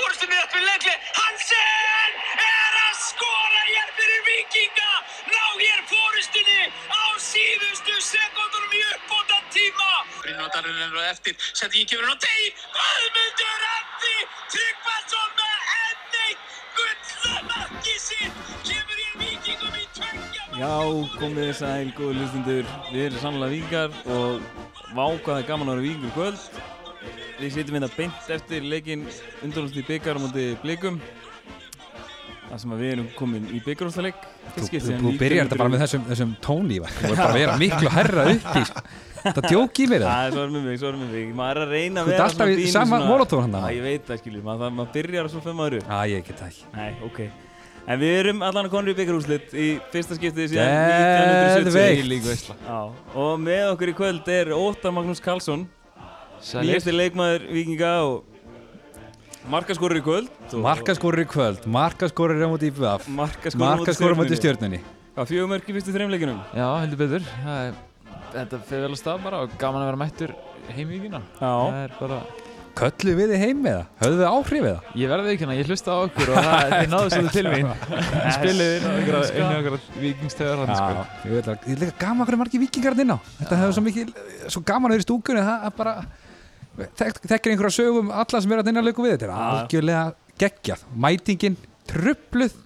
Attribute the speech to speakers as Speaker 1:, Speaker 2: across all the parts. Speaker 1: Jafnvel Hansen er að skora hér fyrir vikinga Ná hér fórustunni á síðustu sekundunum í uppbóta tíma Brynóttarinn er á eftir, setjum ekki verið á degi Guðmundur Andi Tryggvason með enn eitt gullamarki sitt Kemur hér vikingum í tveggja
Speaker 2: Já, komið þið sæl, góðu hlustundur. Við erum sannlega vikingar og vákaði gaman að vera vikingur í kvöld. Við sitjum hérna beint eftir leikinn undanúst í byggar á móti blikum. Það sem að við erum komin í byggarústaleik.
Speaker 3: Þú, þú, þú byrjar þetta bara með þessum, þessum tóni Ívar. Þú er bara að vera miklu herra uppi sko. Það djók í mig það
Speaker 2: Það er svo er með mig, svo er með mig. Maður er að reyna að
Speaker 3: Þú ert
Speaker 2: vera
Speaker 3: alltaf í sama hérna. molotov handa.
Speaker 2: Já, ég veit það skilur. Maður, maður byrjar og svo fyrir maður upp.
Speaker 3: Æ, ég get það ekki
Speaker 2: Nei, ok. En við erum allan að konur í byggarúslit í fyrsta skiptið síðan 1970.
Speaker 3: Geðveikt
Speaker 2: Já, og með okkur í kvöld er Óttar Magnús Karlsson Nýjasti leikmaður vikinga og markaskorur í kvöld og
Speaker 3: Markaskorur í kvöld, markaskorur á móti IPVF
Speaker 2: Markaskorur á móti
Speaker 3: Markaskorur á móti stjörnunni
Speaker 2: Hvað, fjögur mörk í fyrstu þreimleikinum?
Speaker 4: Já, heldur betur. Það er, þetta fer vel að stað bara og gaman að vera mættur heim í vikina. Það
Speaker 2: Já
Speaker 4: er bara,
Speaker 3: Köllu við þið heim með það, höfðu við áhrif við það
Speaker 4: ég verði ekki hérna, ég hlusta á okkur og það, þið náðu svolítið til mín. Þið Spiluðu inn á einhverja, inn á einhverja vikingstöðar hann,
Speaker 3: Já,
Speaker 4: sko.
Speaker 3: ég veit alveg, ég er líka gaman hverju margir vikingarinn inn á Þetta hefur svo mikið, svo gaman að vera í stúkunni Það er bara, þek, þekkir einhverja sögum alla sem er að inn að leiku við Þetta er algjörlega geggjað, mætingin, trubluð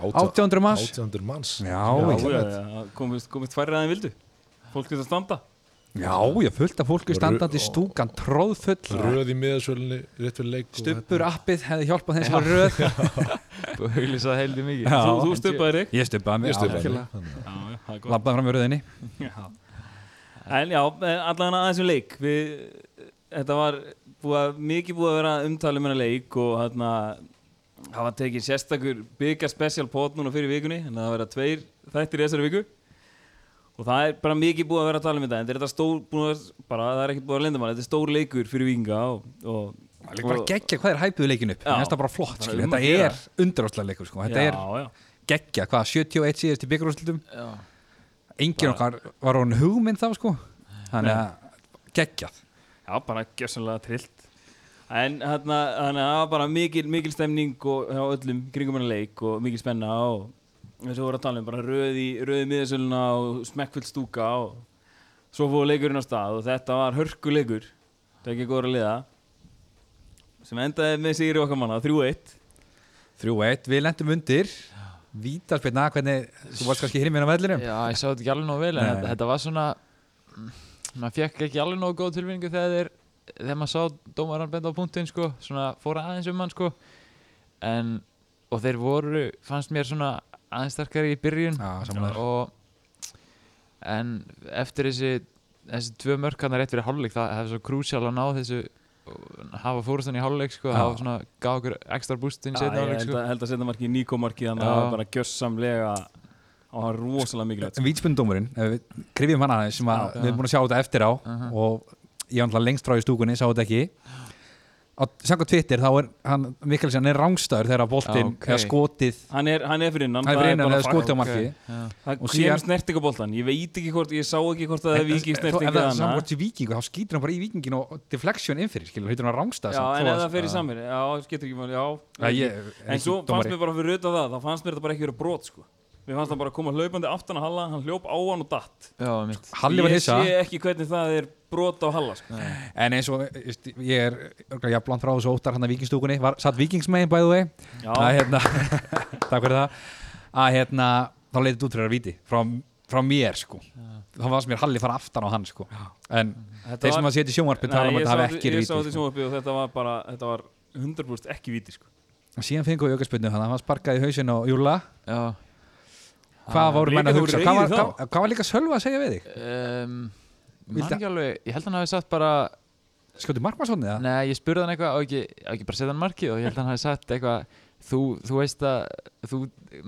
Speaker 3: 800 manns
Speaker 5: 800 manns
Speaker 3: Já,
Speaker 2: Já,
Speaker 3: ég-
Speaker 2: já, já, komist, komist færri aðeins vildu Fólk getur að standa
Speaker 3: Já, ég fullt af fólki standandi í stúkan tróðfull,
Speaker 5: Röð í miðasölunni, rétt fyrir leik og
Speaker 3: stubbur appið hefði hjálpað þeim sem var röð
Speaker 4: Og huglisað heldur mikið.
Speaker 3: Já.
Speaker 2: Þú, þú stöpaði þig
Speaker 3: Ég stubbaði mig,
Speaker 5: Ég stubbaði mig.
Speaker 2: Já, já, það er
Speaker 3: labbaði fram í röðinni
Speaker 2: gott En já, eh, allan að þessum um leik Við, þetta var búa, mikið búið að vera umtalið meina leik og hérna það var tekið sérstakur byggja special pot núna fyrir vikunni en það verða tveir þættir í þessari viku og það er bara mikið búið að vera að tala um þetta en þetta er þetta stór, búin að vera, bara það er ekki búið að lenda mann þetta er stór leikur fyrir vikinga og, og,
Speaker 3: Líka bara geggja hvað er hæpuðu leikin upp
Speaker 2: Já.
Speaker 3: Mér finnst Það er bara flott,
Speaker 2: Bara
Speaker 3: skilur.
Speaker 2: um að
Speaker 3: þetta
Speaker 2: gera.
Speaker 3: er undaráslega leikur sko.
Speaker 2: já,
Speaker 3: Þetta er
Speaker 2: já.
Speaker 3: geggja, hvað, 71 síðast í byggarúslutum
Speaker 4: Já.
Speaker 3: Engin okkar var hún hugmynd þá sko. Þannig að geggjað
Speaker 2: Já, bara gjössanlega trillt En hérna, þannig að það var bara mikil, mikil stemning og hjá öllum kringum hennar leik og mikil spenna og eins og voru að tala um bara röði, röði miðasöluna og smekkfull stúka og svo fóðu leikurinn á stað og þetta var hörkuleikur þetta er ekki góður að liða sem endaði með sigri okkar manna 3-1
Speaker 3: 3-1, við lendum undir Vítarspilna, hvernig Þú varst kannski hirminn á vellinum
Speaker 4: Já, ég sá þetta ekki alveg nógu vel, en
Speaker 3: Nei.
Speaker 4: þetta, þetta var svona, maður fekk ekki alveg nógu góð tilfinningu þegar þeir, þegar maður sá dómarann benda á punktinn, sko, svona fóra aðeins um hann, sko, en, og þeir voru, fannst mér svona aðeins starkari í byrjun,
Speaker 3: Já, sammála þér.
Speaker 4: og, en eftir þessi, þessi tvö mörk hann rétt fyrir hálfleik, það það er svo krúsjál að ná þessu, og hafa fórustan í hálfleik, sko,
Speaker 3: Já.
Speaker 4: það var svona, gaf okkur ekstra boostinn
Speaker 2: Já,
Speaker 4: setna
Speaker 2: ég
Speaker 4: hálfleik,
Speaker 2: held
Speaker 4: sko.
Speaker 2: að, held að setja markið nýkomarkið þannig að
Speaker 4: Já.
Speaker 2: það var bara gjössamlega og það var rosalega mikilvægt sko.
Speaker 3: En vítspundómurinn, ef við krifjum hann aðeins sem að við erum búin að sjá þetta eftir á og ég var náttúrulega lengst frá í stúkunni, sá þetta ekki á Sanko Twitter, þá er hann Mikkelsen, hann er rángstæður þegar boltinn
Speaker 4: Já, ok.
Speaker 3: eða skotið,
Speaker 2: Hann er, hann er fyrir innan,
Speaker 3: hann er
Speaker 2: það
Speaker 3: fyrir innan
Speaker 2: bara
Speaker 3: eða
Speaker 2: fakt.
Speaker 3: skotið á marki
Speaker 4: Já.
Speaker 2: Það
Speaker 3: Og
Speaker 2: kemur
Speaker 3: síðan-
Speaker 2: snert ykkur boltan, ég veit ekki hvort, ég sá ekki hvort að það er vikið
Speaker 3: Ef
Speaker 2: snert
Speaker 3: það
Speaker 2: ykkur
Speaker 3: er
Speaker 2: annað
Speaker 3: samvort í vikingu, þá skýtur hann bara í vikingin og og deflection innfyrir, skilur, heitir hann rángstæður
Speaker 2: Já, en ef það fer í samir, já, skiptir ekki máli, já En svo fannst mér bara fyrir auðvitað það, þá fannst mér þetta bara ekki verið brot, sko Mér fannst það bara að koma hlaupandi aftan að Halla, hann hljóp á hann og datt
Speaker 4: Já, mitt.
Speaker 3: Halli var hissa,
Speaker 2: Ég sé ekki hvernig það er brot á Halla, sko
Speaker 3: en eins og veist, ég er örgulega jafnblant frá þessu óttar hann að vikingstúkunni, var, satt vikingsmegin bæðu vei
Speaker 2: Já.
Speaker 3: að hérna takk fyrir það, að hérna þá leitið út fyrir að viti, frá, frá mér sko, þá fannst mér Halli fara aftan á hann sko, en
Speaker 2: Þetta
Speaker 3: þeir sem
Speaker 2: var-
Speaker 3: að setja í sjónvarpi tala
Speaker 2: Nei,
Speaker 3: um
Speaker 2: ég
Speaker 3: að
Speaker 2: sá
Speaker 3: það
Speaker 2: þetta-
Speaker 3: hafi ekki
Speaker 2: Ég sá þetta í
Speaker 3: viti sko.
Speaker 2: sjónvarpi og þetta var bara, þetta var 100% ekki víti, sko
Speaker 3: síðan fengið við aukarspunni, þannig að hann sparkaði í hausin og júla,
Speaker 4: Já.
Speaker 3: hvað voru menn að
Speaker 2: leikir
Speaker 3: hugsa
Speaker 2: voru
Speaker 3: hvað var,
Speaker 2: reiðir
Speaker 3: hvað,
Speaker 2: þá.
Speaker 3: hvað var líka Sölva að segja við þig?
Speaker 4: Um,
Speaker 3: Vildi-
Speaker 4: man ekki alveg, ég held hann hafi sagt bara
Speaker 3: skjótið markmannsónið það?
Speaker 4: Nei, ég spurði hann eitthvað á ekki, á ekki bara setja hann markið og ég held hann hafi sagt eitthvað Þú, þú veist að, þú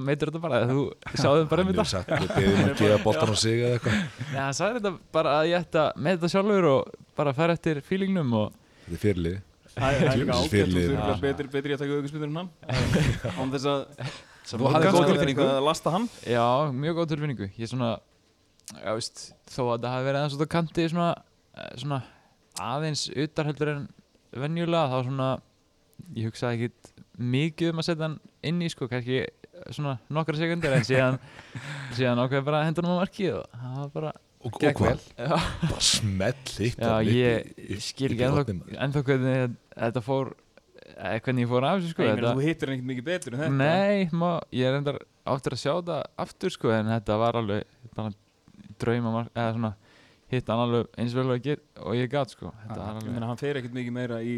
Speaker 4: meitur þetta bara, þú sáðum bara um
Speaker 5: Mér
Speaker 4: þetta
Speaker 5: er sagt, við beðum að gefa boltan á sig eða eitthvað
Speaker 4: Nei, hann sagði þetta bara að ég ætti að meita þetta sjálfur og bara fara eftir feelingnum og
Speaker 5: Þetta er fyrirlið
Speaker 2: Það það er líka
Speaker 5: Djöfisins
Speaker 2: ágætt, þú
Speaker 5: fyrirliði.
Speaker 2: þurfa betri, betri í að taka auðvitað hann Án þess að
Speaker 3: þú hafði góð tilfinningu
Speaker 2: að lasta hann
Speaker 4: Já, mjög góð tilfinningu, ég svona, já veist, þó að það hafi verið aðeins út á kanti svona, eh, svona aðeins utar heldur en venjulega þá svona, ég hugsaði ekkit mikið um að setja hann inn í sko, kannski svona nokkra sekundir en síðan, síðan ákveði bara að henda hann á markið og það var bara
Speaker 5: og, og
Speaker 4: Gekk vel.
Speaker 5: hvað, bara smell hitt
Speaker 4: Já,
Speaker 5: hann upp
Speaker 4: ég
Speaker 5: í- upp-
Speaker 4: skil
Speaker 5: upp í
Speaker 4: ekki ennþá,
Speaker 5: hornið, maður.
Speaker 4: ennþá hvernig þetta fór eh, hvernig ég fór af þessu sko
Speaker 2: Ég meina,
Speaker 4: þetta,
Speaker 2: þú hittir hann ekkert mikið betur en þetta
Speaker 4: Nei, má, ég er endar áttur að sjá þetta aftur sko en þetta var alveg bara drauma mark- eða svona hitt hann alveg eins vel og, ég get, og ég gat sko þetta
Speaker 2: Ég
Speaker 4: var alveg
Speaker 2: meina, hann fer ekkert mikið meira í,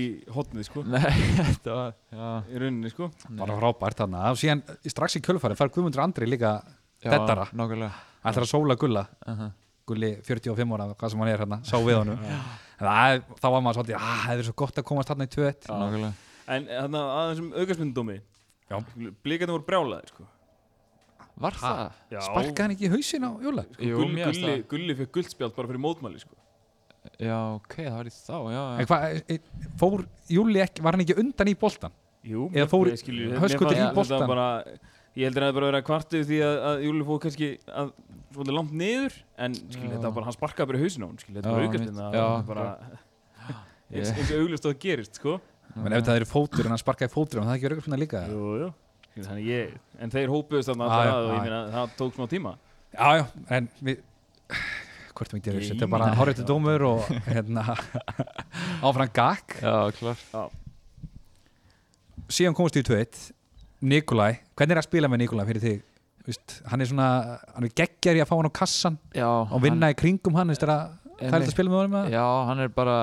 Speaker 2: í hotnið, sko
Speaker 4: Nei, þetta var já,
Speaker 2: Í rauninni, sko
Speaker 3: bara frábært þarna og síðan strax í kjölfari fær Guðmundur Andri líka
Speaker 4: já,
Speaker 3: Deddara.
Speaker 4: Nákvæmlega
Speaker 3: ætlar að sóla gulla
Speaker 4: uh -huh.
Speaker 3: gulli 45 ára, hvað sem hann er hérna, sá við honum En það, þá var maður svolítið, að það er svo gott að komast þarna í 2-1
Speaker 4: Nákvæmlega
Speaker 2: En þannig að þessum aukastmyndum
Speaker 3: Já.
Speaker 2: Blíkarnir voru brjálaðir, sko
Speaker 4: Var það?
Speaker 2: Já.
Speaker 3: sparkaði hann ekki í hausin á Jóla sko.
Speaker 4: Jú,
Speaker 2: Gull,
Speaker 4: mér fannst
Speaker 2: gulli, gulli fekk guldspjald bara fyrir mótmæli, sko
Speaker 4: það Já, ok, það var í þá, já,
Speaker 3: En
Speaker 4: já
Speaker 3: hva, fór Júli ekki, var hann ekki undan í boltan
Speaker 2: Jú,
Speaker 3: Eða fór
Speaker 2: ég skil- mér fannst
Speaker 3: Höskuldur í
Speaker 2: þetta
Speaker 3: boltann?
Speaker 2: bara, Ég heldur að það bara verið að kvartið því að, að Júli fóð kannski að svolítið langt niður en skil,
Speaker 4: Já.
Speaker 2: þetta var bara, hann sparkaði bara í hausinn á hún skil, þetta
Speaker 4: Já,
Speaker 2: var
Speaker 4: mitt.
Speaker 2: aukastmynd það
Speaker 4: Já,
Speaker 2: var bara eins eins og auglust að það gerist, sko
Speaker 3: en ef það eru fótur en hann sparkaði fótur en það er ekki örgum svona líka já, Ah,
Speaker 2: Jú, jú Skil, þannig ég, en þeir hópuðust þarna
Speaker 3: Já, já,
Speaker 2: alltaf að og
Speaker 3: já,
Speaker 2: ég meina það tók smá tíma
Speaker 3: já, en við hvort þú myndir, þetta er bara horritu dómur og hérna áfram gakk,
Speaker 4: Já, klart
Speaker 3: síðan komast í 2-1 Nikolai, hvernig er að spila með Nikolai fyrir þig? Vist, hann er svona, hann er geggjar í að fá hann á kassan
Speaker 4: Já,
Speaker 3: og vinna í kringum hann, veist það að það er þetta að spila með honum að
Speaker 4: Já, hann er bara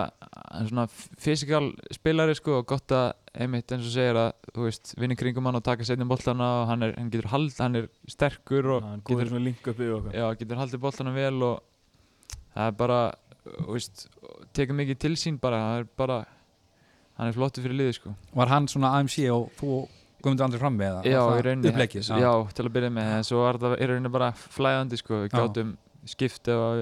Speaker 4: hann er svona fysikal spilari sko og gott að einmitt eins og segir að þú veist, vinni kringum hann og taka setjum boltana og hann, er, hann getur hald, hann er sterkur
Speaker 3: Sko,
Speaker 4: og
Speaker 2: hann
Speaker 4: getur,
Speaker 2: góður svona link upp yfir okkar
Speaker 4: já, getur haldið boltana vel og það er bara þú veist, tekur mikið til sín bara, hann er bara hann er flottur fyrir liðið sko
Speaker 3: var hann svona AMC og þú og Guðmundur Andri frammi eða
Speaker 4: Já,
Speaker 3: Var
Speaker 4: í
Speaker 3: það
Speaker 4: rauninni
Speaker 3: uppleggið,
Speaker 4: já. til að byrja með, en svo var það í rauninni bara flæðandi sko, við
Speaker 3: Já.
Speaker 4: gátum skipt ef að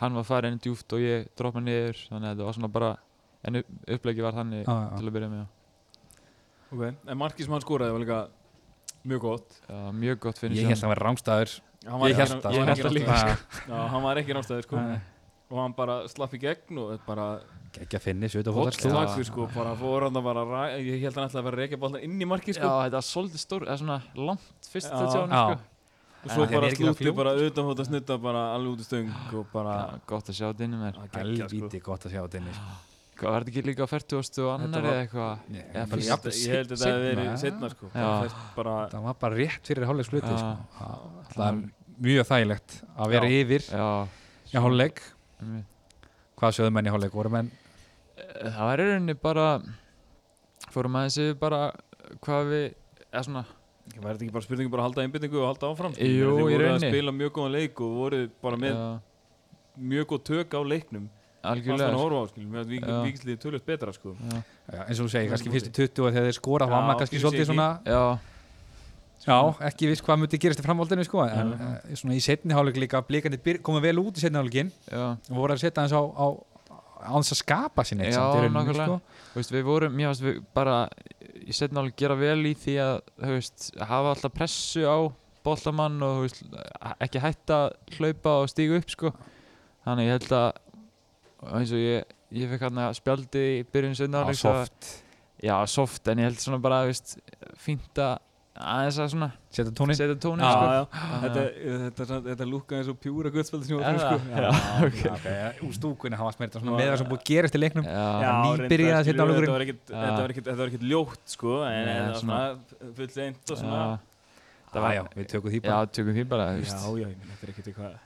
Speaker 4: hann var farin djúft og ég droppa niður, þannig að þetta var svona bara en upp, upplegi var þannig
Speaker 3: Já, já.
Speaker 4: til að byrja með já.
Speaker 2: okay. En markið sem hann skoraði var líka mjög gott
Speaker 4: Já, mjög gott finnst
Speaker 3: Ég held að það var rámstæður
Speaker 2: Hann var
Speaker 3: Ég
Speaker 2: ekki-
Speaker 3: hélt það,
Speaker 2: hann var
Speaker 3: sko.
Speaker 2: ekki
Speaker 3: Ég
Speaker 2: ráðstæður.
Speaker 3: hélt
Speaker 2: Já, hann var ekki nástæður sko
Speaker 3: Nei.
Speaker 2: og hann bara slapp í gegn og þetta bara
Speaker 3: Ekki að finni, sjöta fótar
Speaker 2: hotslakur sko bara fór hann að bara ra- ég held hann ætlaði að vera að reykja bóltan inn í marki
Speaker 4: Já,
Speaker 2: sko
Speaker 4: þetta var svolítið stór, eða svona langt fyrst
Speaker 2: Já.
Speaker 4: þetta sjá hann
Speaker 3: Já.
Speaker 4: sko
Speaker 2: og svo
Speaker 3: Já, hann er
Speaker 2: bara
Speaker 3: ekki að
Speaker 2: slútti
Speaker 3: fljóta, sko.
Speaker 2: bara auðvitað hótt að snutta bara alveg út í stöng og bara
Speaker 4: Já, gott að sjá þetta inn í mér
Speaker 2: geggjað, sko.
Speaker 3: Helvíti gott að sjá þetta inni sko.
Speaker 4: Hvað var þetta ekki líka á 40 og annar
Speaker 2: var-
Speaker 4: eða eitthvað?
Speaker 3: Nei,
Speaker 4: Já,
Speaker 3: bara
Speaker 4: fyrst-
Speaker 3: jafn-
Speaker 2: Ég held að þetta hefði verið
Speaker 3: seinna.
Speaker 2: setna sko
Speaker 4: Já.
Speaker 2: Bara fyrst bara
Speaker 3: Það var bara rétt fyrir hálfleik
Speaker 2: Ah.
Speaker 3: sluti
Speaker 4: Já.
Speaker 3: sko. Það- Það er mjög þægilegt að vera
Speaker 2: Já.
Speaker 3: yfir
Speaker 4: Já,
Speaker 3: í hálfleik
Speaker 4: einmitt.
Speaker 3: Hvað sjöðu menn í hálfleik? Voru menn
Speaker 4: það var í rauninni bara fórum aðeins yfir bara hvað við, eða svona
Speaker 2: var þetta ekki bara spurningu bara að halda einbindingu og halda áfram sko?
Speaker 4: Jú,
Speaker 2: Ég meina, þeir
Speaker 4: í
Speaker 2: voru að
Speaker 4: rauninni.
Speaker 2: spila mjög góðan leik og voru bara með
Speaker 4: já,
Speaker 2: mjög góð tök á leiknum fannst hann að
Speaker 4: algjörlega
Speaker 2: horfa á skilum meðan
Speaker 4: Já.
Speaker 2: vikslið tölvöld betra sko
Speaker 3: Já, eins og þú segir, kannski fyrstu 20 og þegar þeir skora þá var
Speaker 2: Já,
Speaker 3: maður kannski
Speaker 2: skilur sig
Speaker 3: svolítið
Speaker 2: ekki.
Speaker 3: svona
Speaker 4: Já,
Speaker 3: Já, ekki viss hvað myndi gerast í framhaldinu sko, en uh, svona í setni hálfleik líka blikandi komið vel út í setni hálfleikin
Speaker 4: já,
Speaker 3: og voru að setja hans á, á á þess að skapa sín eitt
Speaker 4: Já,
Speaker 3: samt í rauninni, sko.
Speaker 4: nákvæmlega. þú veist, við vorum, mér fannst við bara ég setna alveg gera vel í því að þú veist, hafa alltaf pressu á bollamann og þú veist, ekki hætta að hlaupa og stíga upp sko. þannig ég held að eins og ég, ég fekk hann að spjaldi í byrjun setna
Speaker 3: á soft
Speaker 4: já, soft, en ég held svona bara þú veist, fínt að aðeins að svona
Speaker 3: setja tónin
Speaker 4: setja tónin
Speaker 2: Já,
Speaker 4: sko.
Speaker 2: já, þetta, þetta, þetta, þetta lúkkaði eins og pjúra guðspöldi sem
Speaker 4: Er
Speaker 2: var
Speaker 4: það?
Speaker 2: sko.
Speaker 4: Já, ok.
Speaker 3: okay. úr stúkunni, hann var smerið svona með það sem búið að gerast í leiknum
Speaker 4: Já.
Speaker 2: Já,
Speaker 3: Nýbyrjaði
Speaker 2: reyndar,
Speaker 3: seinni
Speaker 2: skilur við,
Speaker 3: hálfleikurinn.
Speaker 2: Þetta var ekkit-
Speaker 4: Já.
Speaker 2: þetta var ekkit- þetta var ekkit ljótt sko, en
Speaker 4: Nei,
Speaker 2: það var
Speaker 4: svona-
Speaker 2: svona fullt eint og svona
Speaker 4: Já,
Speaker 3: það var, já, við tökum því
Speaker 4: já,
Speaker 3: bara
Speaker 4: tökum því bara þú
Speaker 2: Já,
Speaker 4: veist.
Speaker 2: já, ég minn, þetta er ekkit eitthvað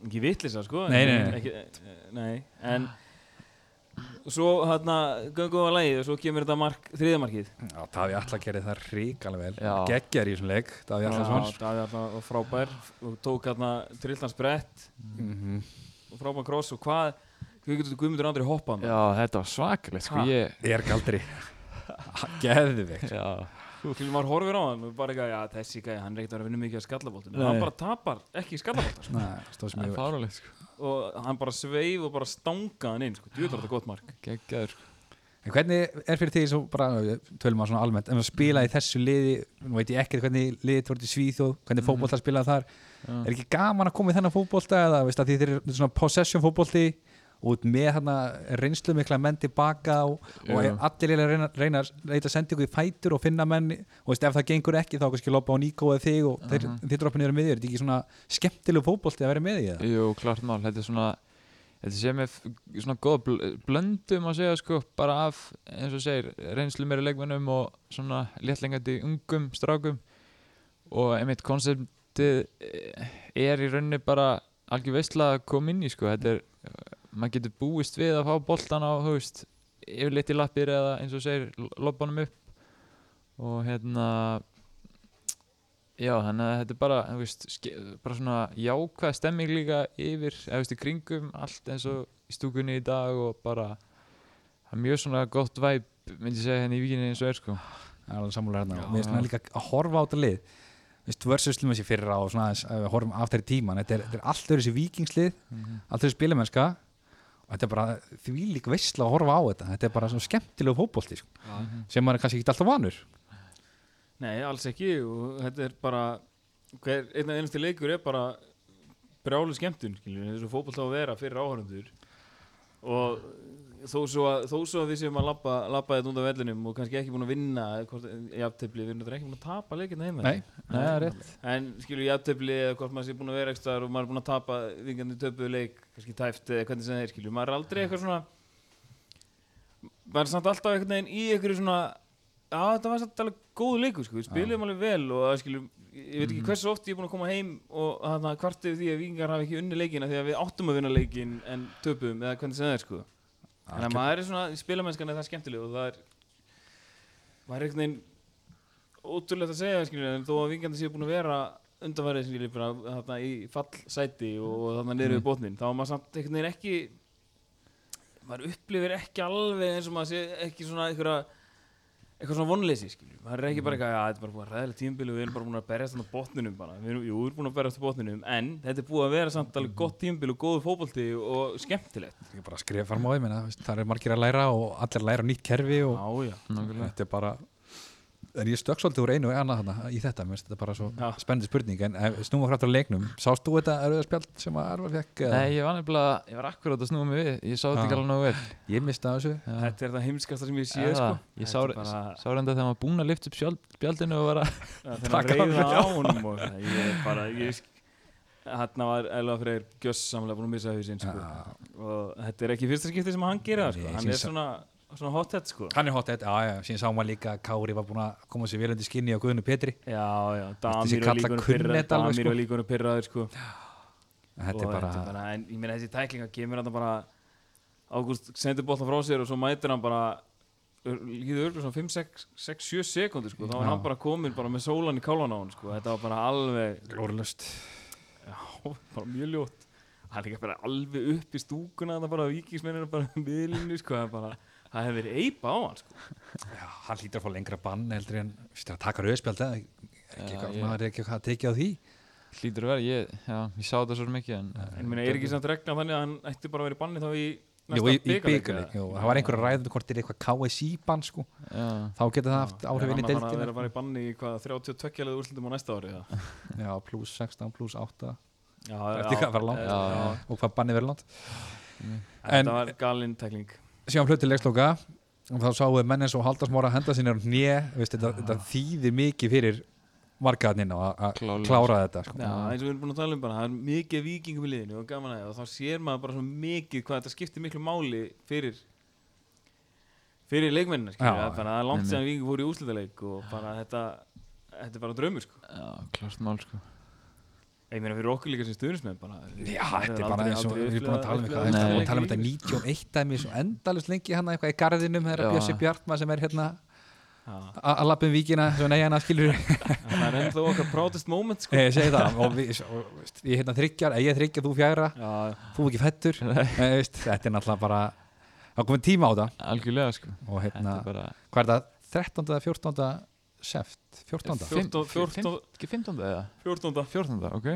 Speaker 2: ekki vitlisa sko
Speaker 3: Nei,
Speaker 2: en-
Speaker 3: nei, nei.
Speaker 2: ekki, eh, nei. en svo hérna göngum við að lagið og svo kemur þetta mark, þriðamarkið
Speaker 3: já, Daví Alla gerði það ríkalega vel
Speaker 4: Já.
Speaker 3: geggjar í þessum leik, Daví Allarsson
Speaker 2: Daði hérna var frábær og tók hérna trilltans brett
Speaker 3: Mhm.
Speaker 2: og frábær kross og hvað hvað getur Guðmundur Andri hoppað með?
Speaker 4: já, þetta var svakalegt sko,
Speaker 2: Ha.
Speaker 4: ég
Speaker 3: er galdri geðvikt
Speaker 4: já,
Speaker 2: Fyrir maður horfir á hann og bara eitthvað, já þessi gæði, hann er ekkert að vera að vinna mikið að skallabóltum
Speaker 3: Nei.
Speaker 2: hann bara tapar ekki skallabóltar sko.
Speaker 3: stóð sem
Speaker 4: það
Speaker 3: ég
Speaker 4: er fáralegt sko.
Speaker 2: og hann bara sveif og bara stanga hann inn sko. djúðlar þetta gott mark
Speaker 4: geggjaður sko.
Speaker 3: En hvernig er fyrir því svo bara, tölum maður svona almennt, ef maður spila í þessu liði, nú veit ég ekkert hvernig liðið voru til Svíþjóð, hvernig fótbolta spilaði þar,
Speaker 4: Mhm. Já.
Speaker 3: er ekki gaman að koma í þennan fótbolta eða veist að því þeir eru svona possession fótbolti og út með hana, reynslu mikla menn tilbaka og, og
Speaker 4: Já.
Speaker 3: allir eiginlega reyna, reyna að leita að senda ykkur í fætur og finna menn og veist, ef það gengur ekki þá kannski loppa á Níko eða þig og þeir, þeir droppa niður með þér, þetta er ekki svona skemmtilegu fótbolti að vera með í það
Speaker 4: Jú, klart mál, þetta er svona þetta sé með f- svona góða bl blöndum að segja sko, bara af eins og segir, reynslu meira leikmennum og svona léttlengandi ungum strákum og einmitt konceptið eh, er í rauninni bara algjör veistla að koma inn í sko, þetta er eh, maður getur búist við að fá boltan á höfst, yfirleitt í lappir eða eins og segir, lobbanum upp og hérna Já, þannig að þetta er bara, þú veist, ske- bara svona jákvæð stemming líka yfir, eða þú veist, í kringum allt eins og í stúkunni í dag og bara, það er mjög svona gott væp, myndi ég segja henni í vikinni eins og er, sko.
Speaker 3: Það er alveg sammála hérna
Speaker 4: Já.
Speaker 3: og mér finnst svona líka að horfa á þetta lið Vist, versus til maður sér fyrra og svona aðeins að við horfum aftur í tíman þetta er, þetta er allt öðru sér vikingslið allt öðru spilamennska og þetta er bara því lík veistla að horfa á þetta þetta er bara svona skemmtilegu fótbolti sko, sem maður er kannski ekki alltaf vanur
Speaker 2: Nei, alls ekki og þetta er bara hver, einn af einnstu leikur er bara brjálu skemmtun, skiljum við, þessu fótboll á að vera fyrir áhörundur og þó svo að, þó svo að við séum að labba, labba þetta undan vellinum og kannski ekki búin að vinna hvort, jafntefli, við erum þetta ekki búin að tapa leikina heima
Speaker 3: Nei.
Speaker 4: Nei, það er rétt.
Speaker 2: en skilur jafntefli eða hvort maður sé búin að vera ekki staðar og maður er búin að tapa vingandi töpuðu leik kannski tæft eða hvernig sem það er skilur maður er aldrei eitthvað svona maður er samt alltaf einhvern veginn í einhverju svona já þetta var samt alveg góð leikur sko, við spilum alveg vel og það skilur ég veit ekki hversu oft ég er búin að koma heim og þarna kvartið því að vikingar hafi ekki unni leikina því að við áttum að vinna leikin en töpum eða hvernig sem það er sko þannig að maður er svona, spilamennskan er það skemmtileg og það er maður er einhvern veginn ótrúlegt að segja skilur, en þó að vingandi séu búin að vera undanfærið skilur, bara, þarna, í fallsæti og þarna niður
Speaker 4: Mm.
Speaker 2: við botnin þá er maður samt einhvern veginn ekki maður upplifir ekki alveg eins og maður sé ekki svona einhverja eitthvað svona vonleysi, skilju, maður er ekki
Speaker 4: Mm.
Speaker 2: bara eitthvað, já, þetta er bara búin að ræðilega tímbili og við erum bara búin að berjast þannig á botninum bara, við erum, jú, við erum búin að berjast á botninum, en þetta er búið að vera samt alveg gott tímbili og góður fótbolti og skemmtilegt.
Speaker 3: Ég er bara að skrifa fram á því, menna, það er margir að læra og allir læra nýtt kerfi og
Speaker 2: Já, já.
Speaker 4: Nákvæmlega.
Speaker 3: þetta er bara en ég stökk svolítið úr einu og annað hana í þetta, mér finnst þetta bara svo
Speaker 2: Já.
Speaker 3: spennandi spurning en ef- snúum okkur aftur að leiknum, sást þú þetta erfiða spjald sem að Arvar fekk eða?
Speaker 4: Nei, ég var nefnilega, ég var akkurát að snúa mig við, ég sá þetta
Speaker 3: Já.
Speaker 4: ekki alveg nógu vel.
Speaker 3: ég misti af þessu
Speaker 2: Þetta er það heimskasta sem ég sé,
Speaker 4: Eða,
Speaker 2: sko.
Speaker 4: Ég
Speaker 2: Þetta
Speaker 4: sá,
Speaker 2: er bara-
Speaker 4: sá reynda þegar maður búin að lifta upp sjálf, bjaldinu og var að,
Speaker 2: þennan reyða á honum og það, ég er bara ég sk- þarna var Elva Freyr gjössamlega búin að missa hausinn sko. og þetta er ekki fyrsta skipti sem hann gera það, sko.
Speaker 3: Nei,
Speaker 2: hann er
Speaker 3: syns-
Speaker 2: svona, svona hot head sko.
Speaker 3: Hann er hot head, já, já, síðan sá maður líka að Kári var búin að koma sér vel undir skinni á Guðinu Petri
Speaker 2: já, já,
Speaker 3: Þessi
Speaker 2: Damir var
Speaker 3: kalla
Speaker 2: líkunum
Speaker 3: kunni
Speaker 2: pyrraður
Speaker 3: þetta alveg,
Speaker 2: Damir
Speaker 3: sko.
Speaker 2: var líkunum pyrraður sko.
Speaker 3: Þetta er
Speaker 2: og
Speaker 3: bara,
Speaker 2: þetta er bara, en ég meina þessi tæklinga kemur hann bara Ágúst sendir bóttan frá sér og svo mætir hann bara líður örgulega svona 5, 6, 6 7 sekundir sko. þá var hann bara komin bara með sólan í kálvan á hann sko. þetta var bara alveg
Speaker 3: glóruðlust
Speaker 2: Já, bara mjög ljótt hann er ekki bara alveg upp í stúkuna þannig bara vikingsmennir bara miðlinni sko, það er bara, það hefur verið eipa á hann sko.
Speaker 3: Já, hann hlýtur að fá lengra bann heldur en, veist, að taka rauðspjald eða ekki
Speaker 4: Já,
Speaker 3: eitthvað,
Speaker 4: ég-
Speaker 3: maður er ekki eitthvað að tekja á því
Speaker 4: hlýtur að vera, ég, já, ég sá þetta svo mikið en,
Speaker 2: en minna, er ekki samt regna þannig að hann ætti bara að vera í banni þá í
Speaker 3: Jú,
Speaker 2: næsta
Speaker 3: í, í
Speaker 2: bikarleik,
Speaker 3: byggarleik,
Speaker 2: eða?
Speaker 3: jú, það var einhver að ræða um hvort er eitthvað KSI bann, sko
Speaker 4: já,
Speaker 3: þá getur það haft
Speaker 2: Er
Speaker 3: áhrif inn í
Speaker 2: hann að fara að
Speaker 3: deildina
Speaker 2: vera bara í banni í hvað 32 leðu úrslutum á næsta ári eða?
Speaker 3: Já, pluss 16, pluss 8
Speaker 2: já,
Speaker 3: Eftir hvað var langt
Speaker 2: já, já.
Speaker 3: og hvað banni verið langt En-
Speaker 2: þetta var galinn tekling
Speaker 3: síðan flutt til leiksloka og þá sáum við menn eins og Halldórs Móra henda sinni á hnjö, veist, þetta, þetta þýðir mikið fyrir markaðnina að
Speaker 4: Klárlega.
Speaker 3: klára þetta sko.
Speaker 2: Já, eins og við erum búin að tala um bara, það er mikið af vikingum í liðinu og gaman aðeins og þá sér maður bara svo mikið hvað þetta skiptir miklu máli fyrir fyrir leikmennina, skilur
Speaker 3: Já,
Speaker 2: við, bara það er langt sem vikingur fór í úslitaleik og bara þetta þetta er bara draumur, sko
Speaker 4: já, klart mál sko.
Speaker 2: ég meina fyrir okkur líka sem stuðnismenn bara
Speaker 3: Já, þetta er bara eins og við erum búin að tala um eitthvað
Speaker 4: Nei.
Speaker 3: Við erum búin að tala um
Speaker 2: þetta
Speaker 3: þetta 91 dæmi svo endalist lengi hann eitthvað í garðinum þegar
Speaker 4: Já.
Speaker 3: Bjössi Bjartma sem er hérna
Speaker 2: nýtt
Speaker 3: að lappum víkina sem nei hann að skilur
Speaker 2: það er ennþá okkar proudest moment, sko
Speaker 3: ég segi það og, við, og veist, ég hérna þryggjar, ég er þryggjar, þú fjæra
Speaker 2: Já,
Speaker 3: þú ekki fættur Eh, veist, þetta er náttúrulega bara það er komið tíma á þetta
Speaker 4: algjörlega sko.
Speaker 3: og
Speaker 4: þetta
Speaker 3: hérna,
Speaker 4: er bara
Speaker 3: hvað er það, 13. eða 14. seft 14.
Speaker 2: Fjórtán-
Speaker 4: Fimm-
Speaker 2: fjórtán-
Speaker 4: fimm- ekki 15. eða
Speaker 2: 14.
Speaker 4: 14. ok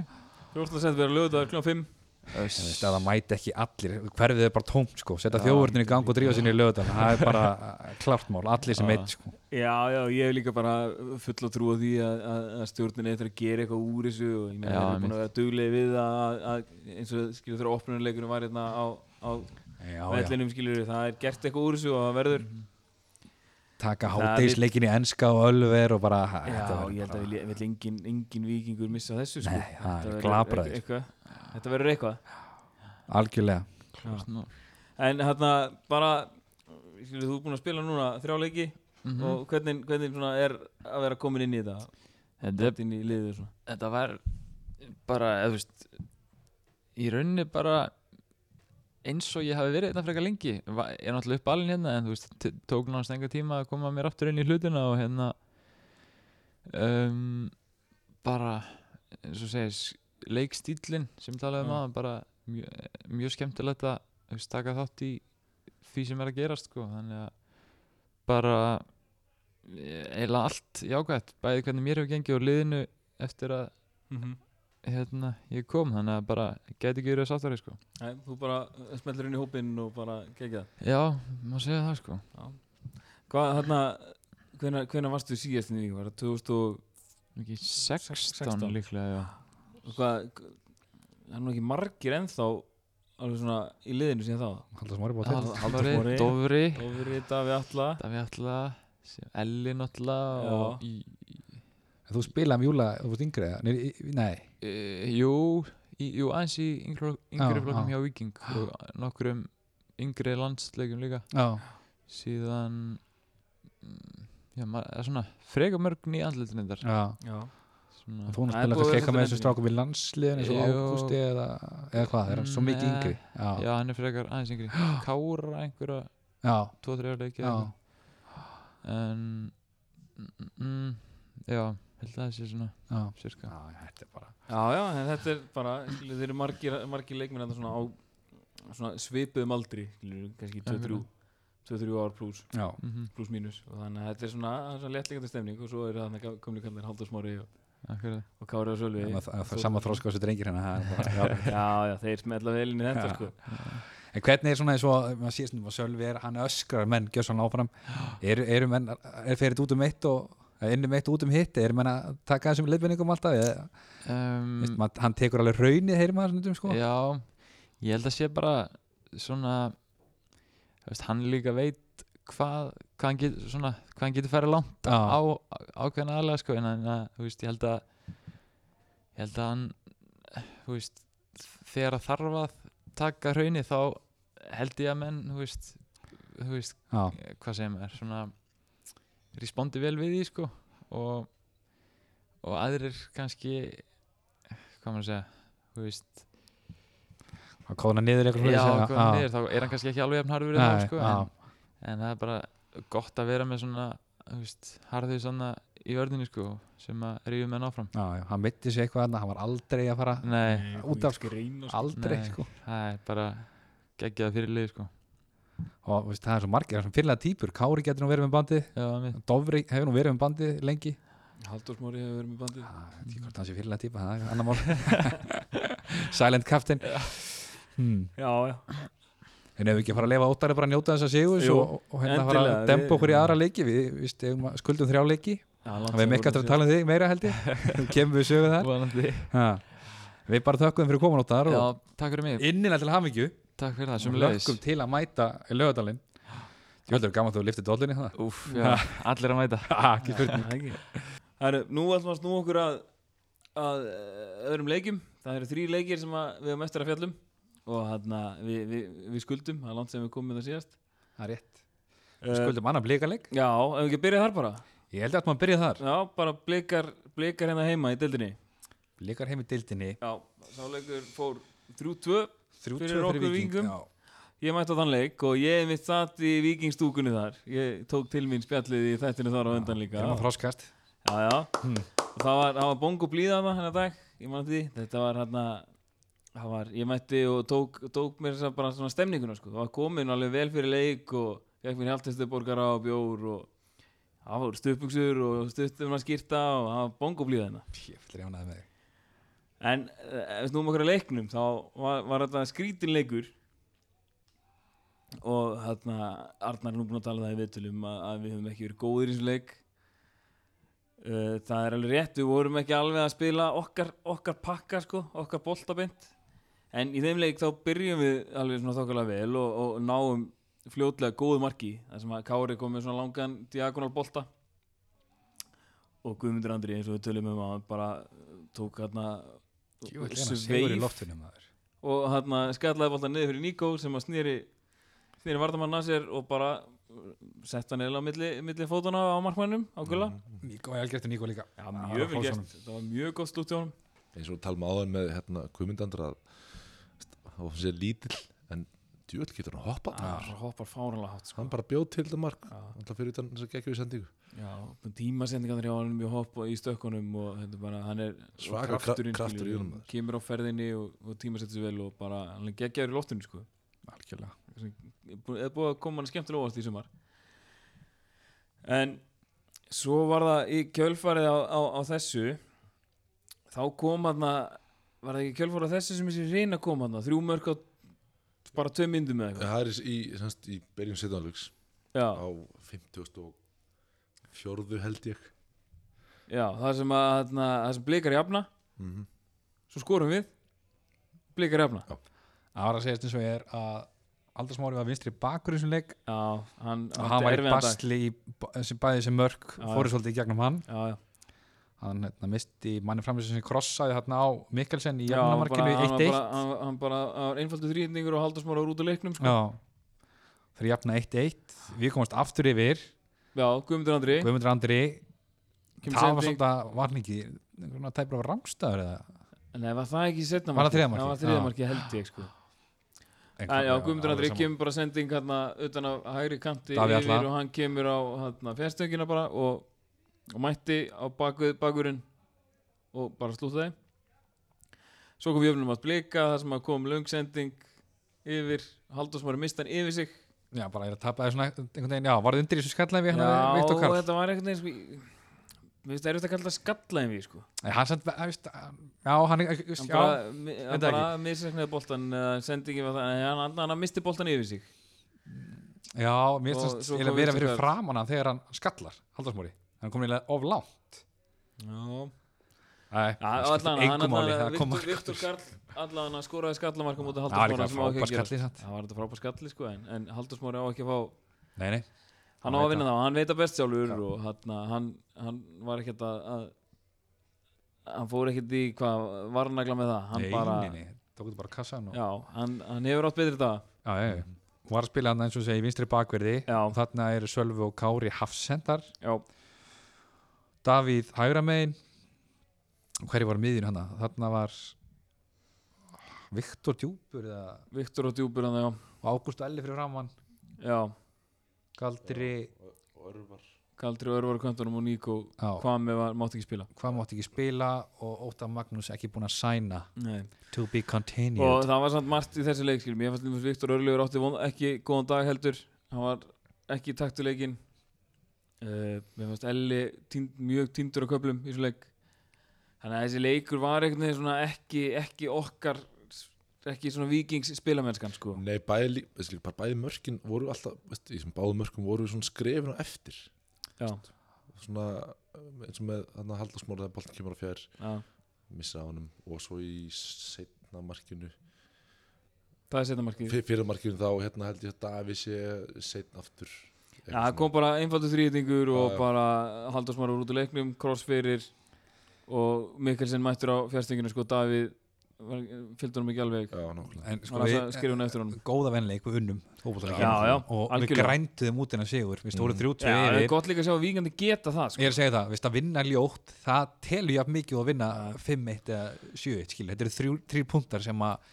Speaker 2: 14. sent verið lögðaður kl. 5
Speaker 3: Þú veist, að það mæti ekki allir, hverfið er bara tómt sko, setja þjóðvörnum í gang og drífa sinni í lögutan það er bara uh, klárt mál, allir sem
Speaker 4: Já.
Speaker 3: meitt sko.
Speaker 2: Já, já, ég hef líka bara full að trúa því að, að, að stjórnin eitthvað að gera eitthvað úr þessu og ég meina
Speaker 4: Já,
Speaker 2: það er búin að vera duglegi við að, að eins og skilur þurfa opnunarleikunum var hérna á, á
Speaker 3: já, já.
Speaker 2: vellinum skilur það er gert eitthvað úr þessu og það verður
Speaker 3: taka
Speaker 2: Það
Speaker 3: hádegisleikin í enska og ölver og bara
Speaker 2: Já,
Speaker 3: þetta verður
Speaker 2: ég held að
Speaker 3: bara-
Speaker 2: vil, vil engin, engin vikingur missa þessu sko.
Speaker 3: Nei, það
Speaker 2: Þetta
Speaker 3: er
Speaker 2: verður
Speaker 3: glabraður.
Speaker 2: eitth- eitthvað. Þetta verður eitthvað
Speaker 3: algjörlega
Speaker 4: Klárt mál.
Speaker 2: En hérna bara skilur, Þú ert búinn að spila núna þrjá leiki
Speaker 3: Mhm.
Speaker 2: og hvernig, hvernig svona er að vera komin inn í þetta
Speaker 4: Þetta er
Speaker 2: Inn í liðið og svona
Speaker 4: þetta var bara, eða þú veist í rauninni bara eins og ég hafi verið hérna frekar lengi Va- ég er náttúrulega uppalinn hérna en þú veist t- tók náttúrulega enga tíma að koma mér aftur inn í hlutina og hérna um, bara eins og segis leikstílin sem talaði um
Speaker 2: Já.
Speaker 4: aðan bara mjög, mjög skemmtilegt að þú veist, taka þátt í því sem er að gerast sko. þannig að bara eh, eiginlega allt jákvæmt bæði hvernig mér hefur gengið og liðinu eftir að hérna, ég kom þannig að bara gæti ekki verið að sáttari sko
Speaker 2: Nei, Þú bara smellir inn í hópinn og bara gegja
Speaker 4: já, má segja það sko
Speaker 2: Hvað, hérna Hvenær, hvenær varstu síðast í vikingur? 2000 og
Speaker 4: ekki
Speaker 2: Sextán.
Speaker 4: 16 líklega já.
Speaker 2: hvað Það er nú ekki margir ennþá alveg svona í liðinu síðan þá
Speaker 3: Halldór Smári búið að
Speaker 4: Al-
Speaker 3: tæta
Speaker 2: Smári.
Speaker 4: Alvari, Dofri
Speaker 2: Dofri, Davi, Alla
Speaker 4: Davi Alla, síðan Elli náttúrulega og í,
Speaker 3: Þú spilaði um júla, þú veist yngri eða? Nei, í- nei,
Speaker 4: e, jú, í, jú aðeins í yngri,
Speaker 3: Já,
Speaker 4: yngri flokkum
Speaker 3: já.
Speaker 4: hjá Viking og nokkrum yngri landsleikum líka
Speaker 3: já
Speaker 4: síðan mm, já, maður, eða svona freka mörg nýja andlutnindar
Speaker 3: Já,
Speaker 2: Já
Speaker 4: svona,
Speaker 3: þú hún
Speaker 2: Það er
Speaker 3: spilaði
Speaker 2: búið að
Speaker 3: kannski
Speaker 2: vera
Speaker 3: eitthvað með þessu
Speaker 2: svolítið
Speaker 3: strákum í landsliðin eins og
Speaker 4: Jú.
Speaker 3: ágústi eða, eða hvað, er hann svo mikið
Speaker 4: Nei.
Speaker 3: yngri Já,
Speaker 4: já, hann er frekar aðeins yngri Kára einhverja,
Speaker 3: já,
Speaker 4: tvo, þrjá leiki
Speaker 3: já
Speaker 4: eða eitthvað. en mm, mm, já, held að það sé svona
Speaker 3: Já,
Speaker 4: cirka
Speaker 3: Já, þetta er bara
Speaker 2: Já, já, en þetta er bara, skilur, þeir eru margir, margir leikmenn þarna svona á svona svipuðum aldri, skilur, kannski 2-3
Speaker 3: Mhm.
Speaker 2: 2-3 ár pluss,
Speaker 3: Já,
Speaker 4: mm -hmm,
Speaker 2: pluss mínus og þannig að þetta er svona, það er svona léttleikandi stemning og svo eru þannig að komni kallar Haldur Smári og, og Kári og Sölvi
Speaker 3: það það- það er sama þróska á þessu drengir hérna það er bara- já.
Speaker 2: Já, já, þeir smetla vel inn í þetta,
Speaker 3: Já.
Speaker 2: sko
Speaker 3: En hvernig er svona eins og, maður sé svona, Sölvi er, hann öskrar menn, gjör svona áfram Er, eru menn, er ferið út um eitt og eða inn um eitt og út um hitt, er menn að taka þessum leiðbenningum alltaf, eða,
Speaker 4: um,
Speaker 3: veist, maður, hann tekur alveg raunni, heyrir maður svona, sko,
Speaker 4: Já, ég held að sé bara svona þú veist, hann líka veit hvað, hvað hann getur svona, hvað hann getur færi langt á
Speaker 3: já,
Speaker 4: ákveðna aðlega sko en hann, að, þú veist, ég held að ég held að hann þú veist, þegar að þarf að taka hraunni þá held ég að menn, þú veist, þú veist
Speaker 3: já.
Speaker 4: eh, hvað sem er svona respondi vel við því sko og, og aðrir kannski hvað maður að segja þú veist
Speaker 3: að kóna niður eitthvað
Speaker 4: Já,
Speaker 3: svoleiðis,
Speaker 4: komið niður, þá er hann kannski ekki alveg jafn harður við það,
Speaker 3: Nei,
Speaker 4: sko,
Speaker 3: já.
Speaker 4: en, en það er bara gott að vera með svona, þú veist, harðið svona í vörðinni, sko, sem að rífum menn áfram.
Speaker 3: já, já, hann mitti sig eitthvað annað, hann var aldrei að fara
Speaker 4: Nei,
Speaker 3: út af, sko,
Speaker 2: skrein og
Speaker 3: aldrei,
Speaker 4: Nei.
Speaker 3: sko
Speaker 4: það er bara geggjað fyrir lið, sko.
Speaker 3: og veist, það er svo margir, það er svo fyrirlega típur Kári getur nú verið með bandið,
Speaker 4: Já, mitt.
Speaker 3: Dofri hefur nú verið með bandið lengi
Speaker 2: Haldur Smári hefur verið með bandið
Speaker 3: það er hvort hann sé fyrirlega típa, það er annar mál Silent Captain hmm.
Speaker 2: Já, já
Speaker 3: en ef við ekki að fara að lifa óttari bara að njóta þess að sigur
Speaker 2: Jú,
Speaker 3: og, og hérna fara
Speaker 2: endilega,
Speaker 3: að dempa
Speaker 2: við-
Speaker 3: okkur í aðra leiki við, við stegum, skuldum þrjá leiki við erum ekki aftur að tala um þig meira held ég Þú kemur við sögu þar
Speaker 4: Vonandi.
Speaker 3: ha. við bara þökkum fyrir komin óttar
Speaker 4: Já,
Speaker 3: og
Speaker 4: takk fyrir mig,
Speaker 3: innilega til hamingju
Speaker 4: takk fyrir það, sem leiðis.
Speaker 3: lögum til að mæta lögadalinn Ég heldur gaman að þú liftir dollunni það
Speaker 4: Úf, já, allir að mæta.
Speaker 3: Ha, Ah, ekki spurning.
Speaker 2: Það eru, nú ætlum við að snúa okkur að, að eh, öðrum leikjum Það eru þrý leikir sem að við erum eftir að fjallum og hann við, við, við skuldum það er langt sem við komum með það síðast
Speaker 3: Það er rétt
Speaker 2: Eh,
Speaker 3: Skuldum annan blíkaleg
Speaker 2: Já, ef við ekki að byrja þar bara
Speaker 3: Ég held að maður byrja þar
Speaker 2: Já, bara blikar, blikar hérna heima í deildinni
Speaker 3: Blíkar heim í dildinni
Speaker 2: Já, sá leikur fór 3-2
Speaker 3: Þrjú
Speaker 2: Fyrir
Speaker 3: tvö
Speaker 2: okkur Víkingum.
Speaker 3: Já.
Speaker 2: Ég mætti á þann leik og ég mitt satt í vikingstúkunni þar Ég tók til mín spjallið í þættinu þar á undan
Speaker 3: Við
Speaker 2: líka
Speaker 3: erum að þroskast
Speaker 2: Já, já Og það var, það var bongo blíða þarna hennar dag Ég man eftir því Þetta var hérna Það var, ég mætti og tók, tók mér þess að bara svona stemninguna sko Það var komin alveg vel fyrir leik og Fekk mér hjaltestuborgara og bjór og Það var stupuksur og stuttum að skýrta og það var bongo blíða hennar
Speaker 3: Ég fyllir jánaði með þig
Speaker 2: En eh, ef snúum okkur að leiknum þá var, var þetta skrítin leikur og þarna Arnar er nú búinn að tala um það í viðtölum að, að við höfum ekki verið góðir í þessu leik Uh, það er alveg rétt, við vorum ekki alveg að spila okkar, okkar pakka sko, okkar boltabind en í þeim leik þá byrjum við alveg svona þokkalega vel og, og náum fljótlega góðu marki þar sem að Kári kom með svona langan diagonal bolta og Guðmundur Andri eins og við tölum um að hann bara tók hérna
Speaker 3: Sigur í loftinu maður
Speaker 2: og hérna skallaði bolta niður fyrir Nikó sem að snýri snýri vardamann að sér og bara setta hann eða á milli, milli fótana á markmannum á gulla
Speaker 3: Níko, ég gerti Níko líka
Speaker 2: Já,
Speaker 5: Mm,
Speaker 2: mjög vel gert, það var mjög gott slútt hjá honum
Speaker 5: eins og talum áðan með hérna kvumindandra að og hann sé lítill en djúvel getur hann hoppað
Speaker 4: Ah.
Speaker 5: maður.
Speaker 2: hann hoppar fáranlega hátt sko.
Speaker 5: hann bara bjóð til þetta mark alltaf fyrir utan þess að geggjum við sendingu
Speaker 2: Já, tímasendingarnir hjá honum í hopp og í stökkunum og þetta er bara, hann er og
Speaker 5: Svaka kra-
Speaker 2: krafturinn,
Speaker 5: kraftur í
Speaker 2: skilur,
Speaker 5: honum,
Speaker 2: hann
Speaker 5: maður.
Speaker 2: kemur á ferðinni og, og tímasettur sér vel og bara, hann er geggjaður í loftinu sko.
Speaker 3: Algjörlega
Speaker 2: eða búið að koma hann skemmtilega óvast í sumar en svo var það í kjölfarið á, á, á þessu þá kom hann var það ekki kjölfarið á þessu sem þessi reyna kom hann þrjú mörg á bara tvei myndum eða eitthvað
Speaker 5: það er í, semst, í byrjun setjanlugs
Speaker 2: Já.
Speaker 5: á 50 og fjórðu held ég
Speaker 2: Já, það sem að þarna, það sem blikar jafna
Speaker 5: Mhm.
Speaker 2: svo skorum við blikar jafna
Speaker 5: Já.
Speaker 3: Það var að segja eins og ég er að Aldarsmári var vinstri bakur í þessum leik
Speaker 2: Já, hann,
Speaker 3: og hann
Speaker 2: átti
Speaker 3: var í
Speaker 2: erfiðan dag.
Speaker 3: basli í b- þessi bæði sem mörk fóru svolítið í gegnum hann
Speaker 2: Já, já,
Speaker 3: hann hérna, misti manni framlýsum sem krossaði hérna á Mikkelsen í
Speaker 2: já hann, bara,
Speaker 3: jafnamarkinu
Speaker 2: hann, var
Speaker 3: 1-1
Speaker 2: bara, hann, var- hann bara hann var einfaldur þrýhendingur og haldarsmára úr út af leiknum sko.
Speaker 3: Já þegar jafna 1-1 við komast aftur yfir
Speaker 2: Já, Guðmundur Andri
Speaker 3: Guðmundur Andri
Speaker 2: kemur
Speaker 3: það var
Speaker 2: sending.
Speaker 3: svona varningi það er bara rámstæður eða
Speaker 2: Nei, var það ekki setna
Speaker 3: Var það þriðja markið?
Speaker 2: Það var
Speaker 3: Já.
Speaker 2: þriðja markið held ég sko En já, Guðmundur Andri kemur bara sending hérna utan af hægri kanti
Speaker 3: Davíð
Speaker 2: yfir
Speaker 3: Atla.
Speaker 2: og hann kemur á hérna fjærstöngina bara og, og mætti á bakuð, bakurinn og bara slútaði Svo kom jöfnum að blika þar sem að kom löngsending yfir Halldórsmári mistan yfir sig
Speaker 3: já, bara ég tapaði svona einhvern veginn já, varði undir í þessu skallaði við
Speaker 2: Já,
Speaker 3: hérna við Viktor Karl
Speaker 2: þetta var eitthvað sko, Mér finnst það erfitt að kalla það skalla en við sko
Speaker 3: Nei, hann samt, að, veist, að- já, hann,
Speaker 2: Hann
Speaker 3: hann já,
Speaker 2: bara, mi- hann
Speaker 3: veit það
Speaker 2: bara misreiknaði boltan eða sendingin var það, hann, hann, hann misti boltan yfir sig
Speaker 3: já, mér
Speaker 2: Og
Speaker 3: finnst
Speaker 2: svo
Speaker 3: það
Speaker 2: kom
Speaker 3: eiginlega verið
Speaker 2: Viktor
Speaker 3: að vera
Speaker 2: Karl.
Speaker 3: framan hann þegar hann skallar haldarsmóri, hann kom eiginlega of langt
Speaker 2: Já
Speaker 3: Æ,
Speaker 2: Ja,
Speaker 3: það skiptir
Speaker 2: allan, hann
Speaker 3: engu máli, það kom
Speaker 2: allan,
Speaker 3: mark.
Speaker 2: Viktor Karl allan að skoraði skallamarka mútið
Speaker 3: Það var
Speaker 2: Halldórsmára
Speaker 3: líka
Speaker 2: sem á ekki að gera
Speaker 3: frábær skallið samt
Speaker 2: það var þetta frábær skalli sko en, en Halldórsmári á ekki að fá
Speaker 3: Nei, nei,
Speaker 2: hann á
Speaker 3: Hann
Speaker 2: að
Speaker 3: veit
Speaker 2: vinna það, hann veit að best sjálfur og hann, hann, hann var ekkert að, að hann fór ekkert í hvað varnagla með það hann
Speaker 3: nei,
Speaker 2: bara,
Speaker 3: nei, nei Tók þetta bara á kassan og Já,
Speaker 2: já, hann, hann hefur átt betri dag
Speaker 3: já, já Hún var að spila hann eins og segja í vinstri bakverði
Speaker 2: Já.
Speaker 3: Þarna eru Sölvi og Kári hafsendar
Speaker 2: já,
Speaker 3: Davíð hægra megin Og Hverju var miðin hann? hérna? Þarna var Viktor Djúpur eða
Speaker 2: Viktor og Djúpur hann, já,
Speaker 3: og Ágúst Elli fyrir framann
Speaker 2: já
Speaker 3: Galdri,
Speaker 2: Kaldri Örvar Kvöntunum og Níko
Speaker 3: Já.
Speaker 2: hvað með var, mátt ekki spila
Speaker 3: hvað mátti ekki spila og Óta Magnús ekki búin að sæna
Speaker 2: nei
Speaker 3: To be continued
Speaker 2: og það var samt margt í þessi leik skilum ég fannst að Viktor Örlöfur átti von, ekki góðan dag heldur hann var ekki í taktuleikin uh, mér fannst Elli tínd, mjög tindur á köflum í þessu leik þannig að þessi leikur var einhvern veginn svona ekki, ekki okkar ekki svona vikings spilamennskan sko
Speaker 5: nei bæði, lí- veist, líka bara bæði mörkin voru alltaf veist, í þessum báðu mörkum voru svona skrefin á eftir
Speaker 2: já,
Speaker 5: svona um, eins og með hann að haldarsmóra þegar boltin kemur á fjær
Speaker 2: já.
Speaker 5: missa á honum og svo í setna markinu
Speaker 2: það er setna markið já,
Speaker 5: Fyr- fyrir markinu þá hérna held ég að Davi sé setna aftur Eitthvað
Speaker 2: það
Speaker 5: svona.
Speaker 2: kom bara einfaldur þrýðingur og
Speaker 5: Já, já.
Speaker 2: bara Halldórsmar var út úr leiknum crossfyrir og Mikkelsen mættur á fjárstenginu sko Davíð fylgdur hann ekki alveg
Speaker 5: já, nákvæmlega
Speaker 3: en sko eh,
Speaker 2: hann við, skrifa hann eftir honum
Speaker 3: góða vennleik við unnum fótboltaleik.
Speaker 2: Já, já,
Speaker 3: og við
Speaker 2: algjörlega.
Speaker 3: grænduðum út innan sigur við stóru mm. 30
Speaker 2: Já, það er
Speaker 3: yfir
Speaker 2: gott líka að sjá að víkandi geta það sko.
Speaker 3: ég er að segja það, viðst að vinna ljótt það telur jafn mikið og að vinna 5-1 eða 7-1 skil, þetta eru þrjú, þrjú punktar sem að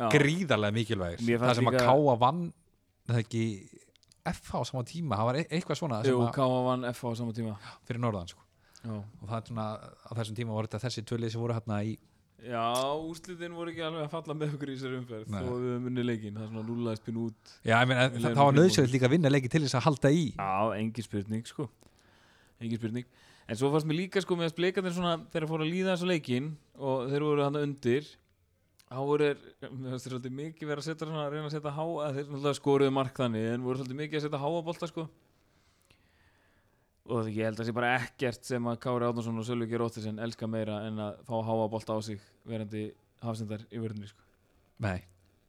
Speaker 2: Já,
Speaker 3: gríðarlega mikilvægir
Speaker 2: Mér fannst
Speaker 3: það sem að
Speaker 2: líka-
Speaker 3: káa vann það ekki FH á sama tíma, það var e- eitthvað svona sem
Speaker 2: Jú,
Speaker 3: að,
Speaker 2: Káa vann FH á sama tíma
Speaker 3: fyrir norðan sko.
Speaker 2: Já,
Speaker 3: og það er svona, á þessum tíma voru þetta þessi tvölið sem voru hérna í
Speaker 2: já úrslitin voru ekki alveg að falla með okkur í þessari umferð
Speaker 3: Nei.
Speaker 2: þó að við höfum unni leikinn, það er svona núlaðist pín út
Speaker 3: já, ég meina,
Speaker 2: Við
Speaker 3: það,
Speaker 2: leiðum
Speaker 3: það var
Speaker 2: þrír
Speaker 3: nöðsöld líka að vinna leiki til þess að halda í
Speaker 2: Já, engin spurning sko engin spurning En svo fannst mér líka sko með að splikarnir svona þegar fóru að líða þessu leikinn og þeir voru hann undir þá voru þeir, mér finnst þeir svolítið mikið verið að setja svona, reyna að setja háa þeir náttúrulega skoruðu mark þannig en voru svolítið mikið að setja háa bolta sko og ég held að sé bara ekkert sem að Kári Átnason og Sölvi Geir Óttisinn elska meira en að fá háa bolta á sig verandi hafsendar í vörðinni sko.
Speaker 3: Nei,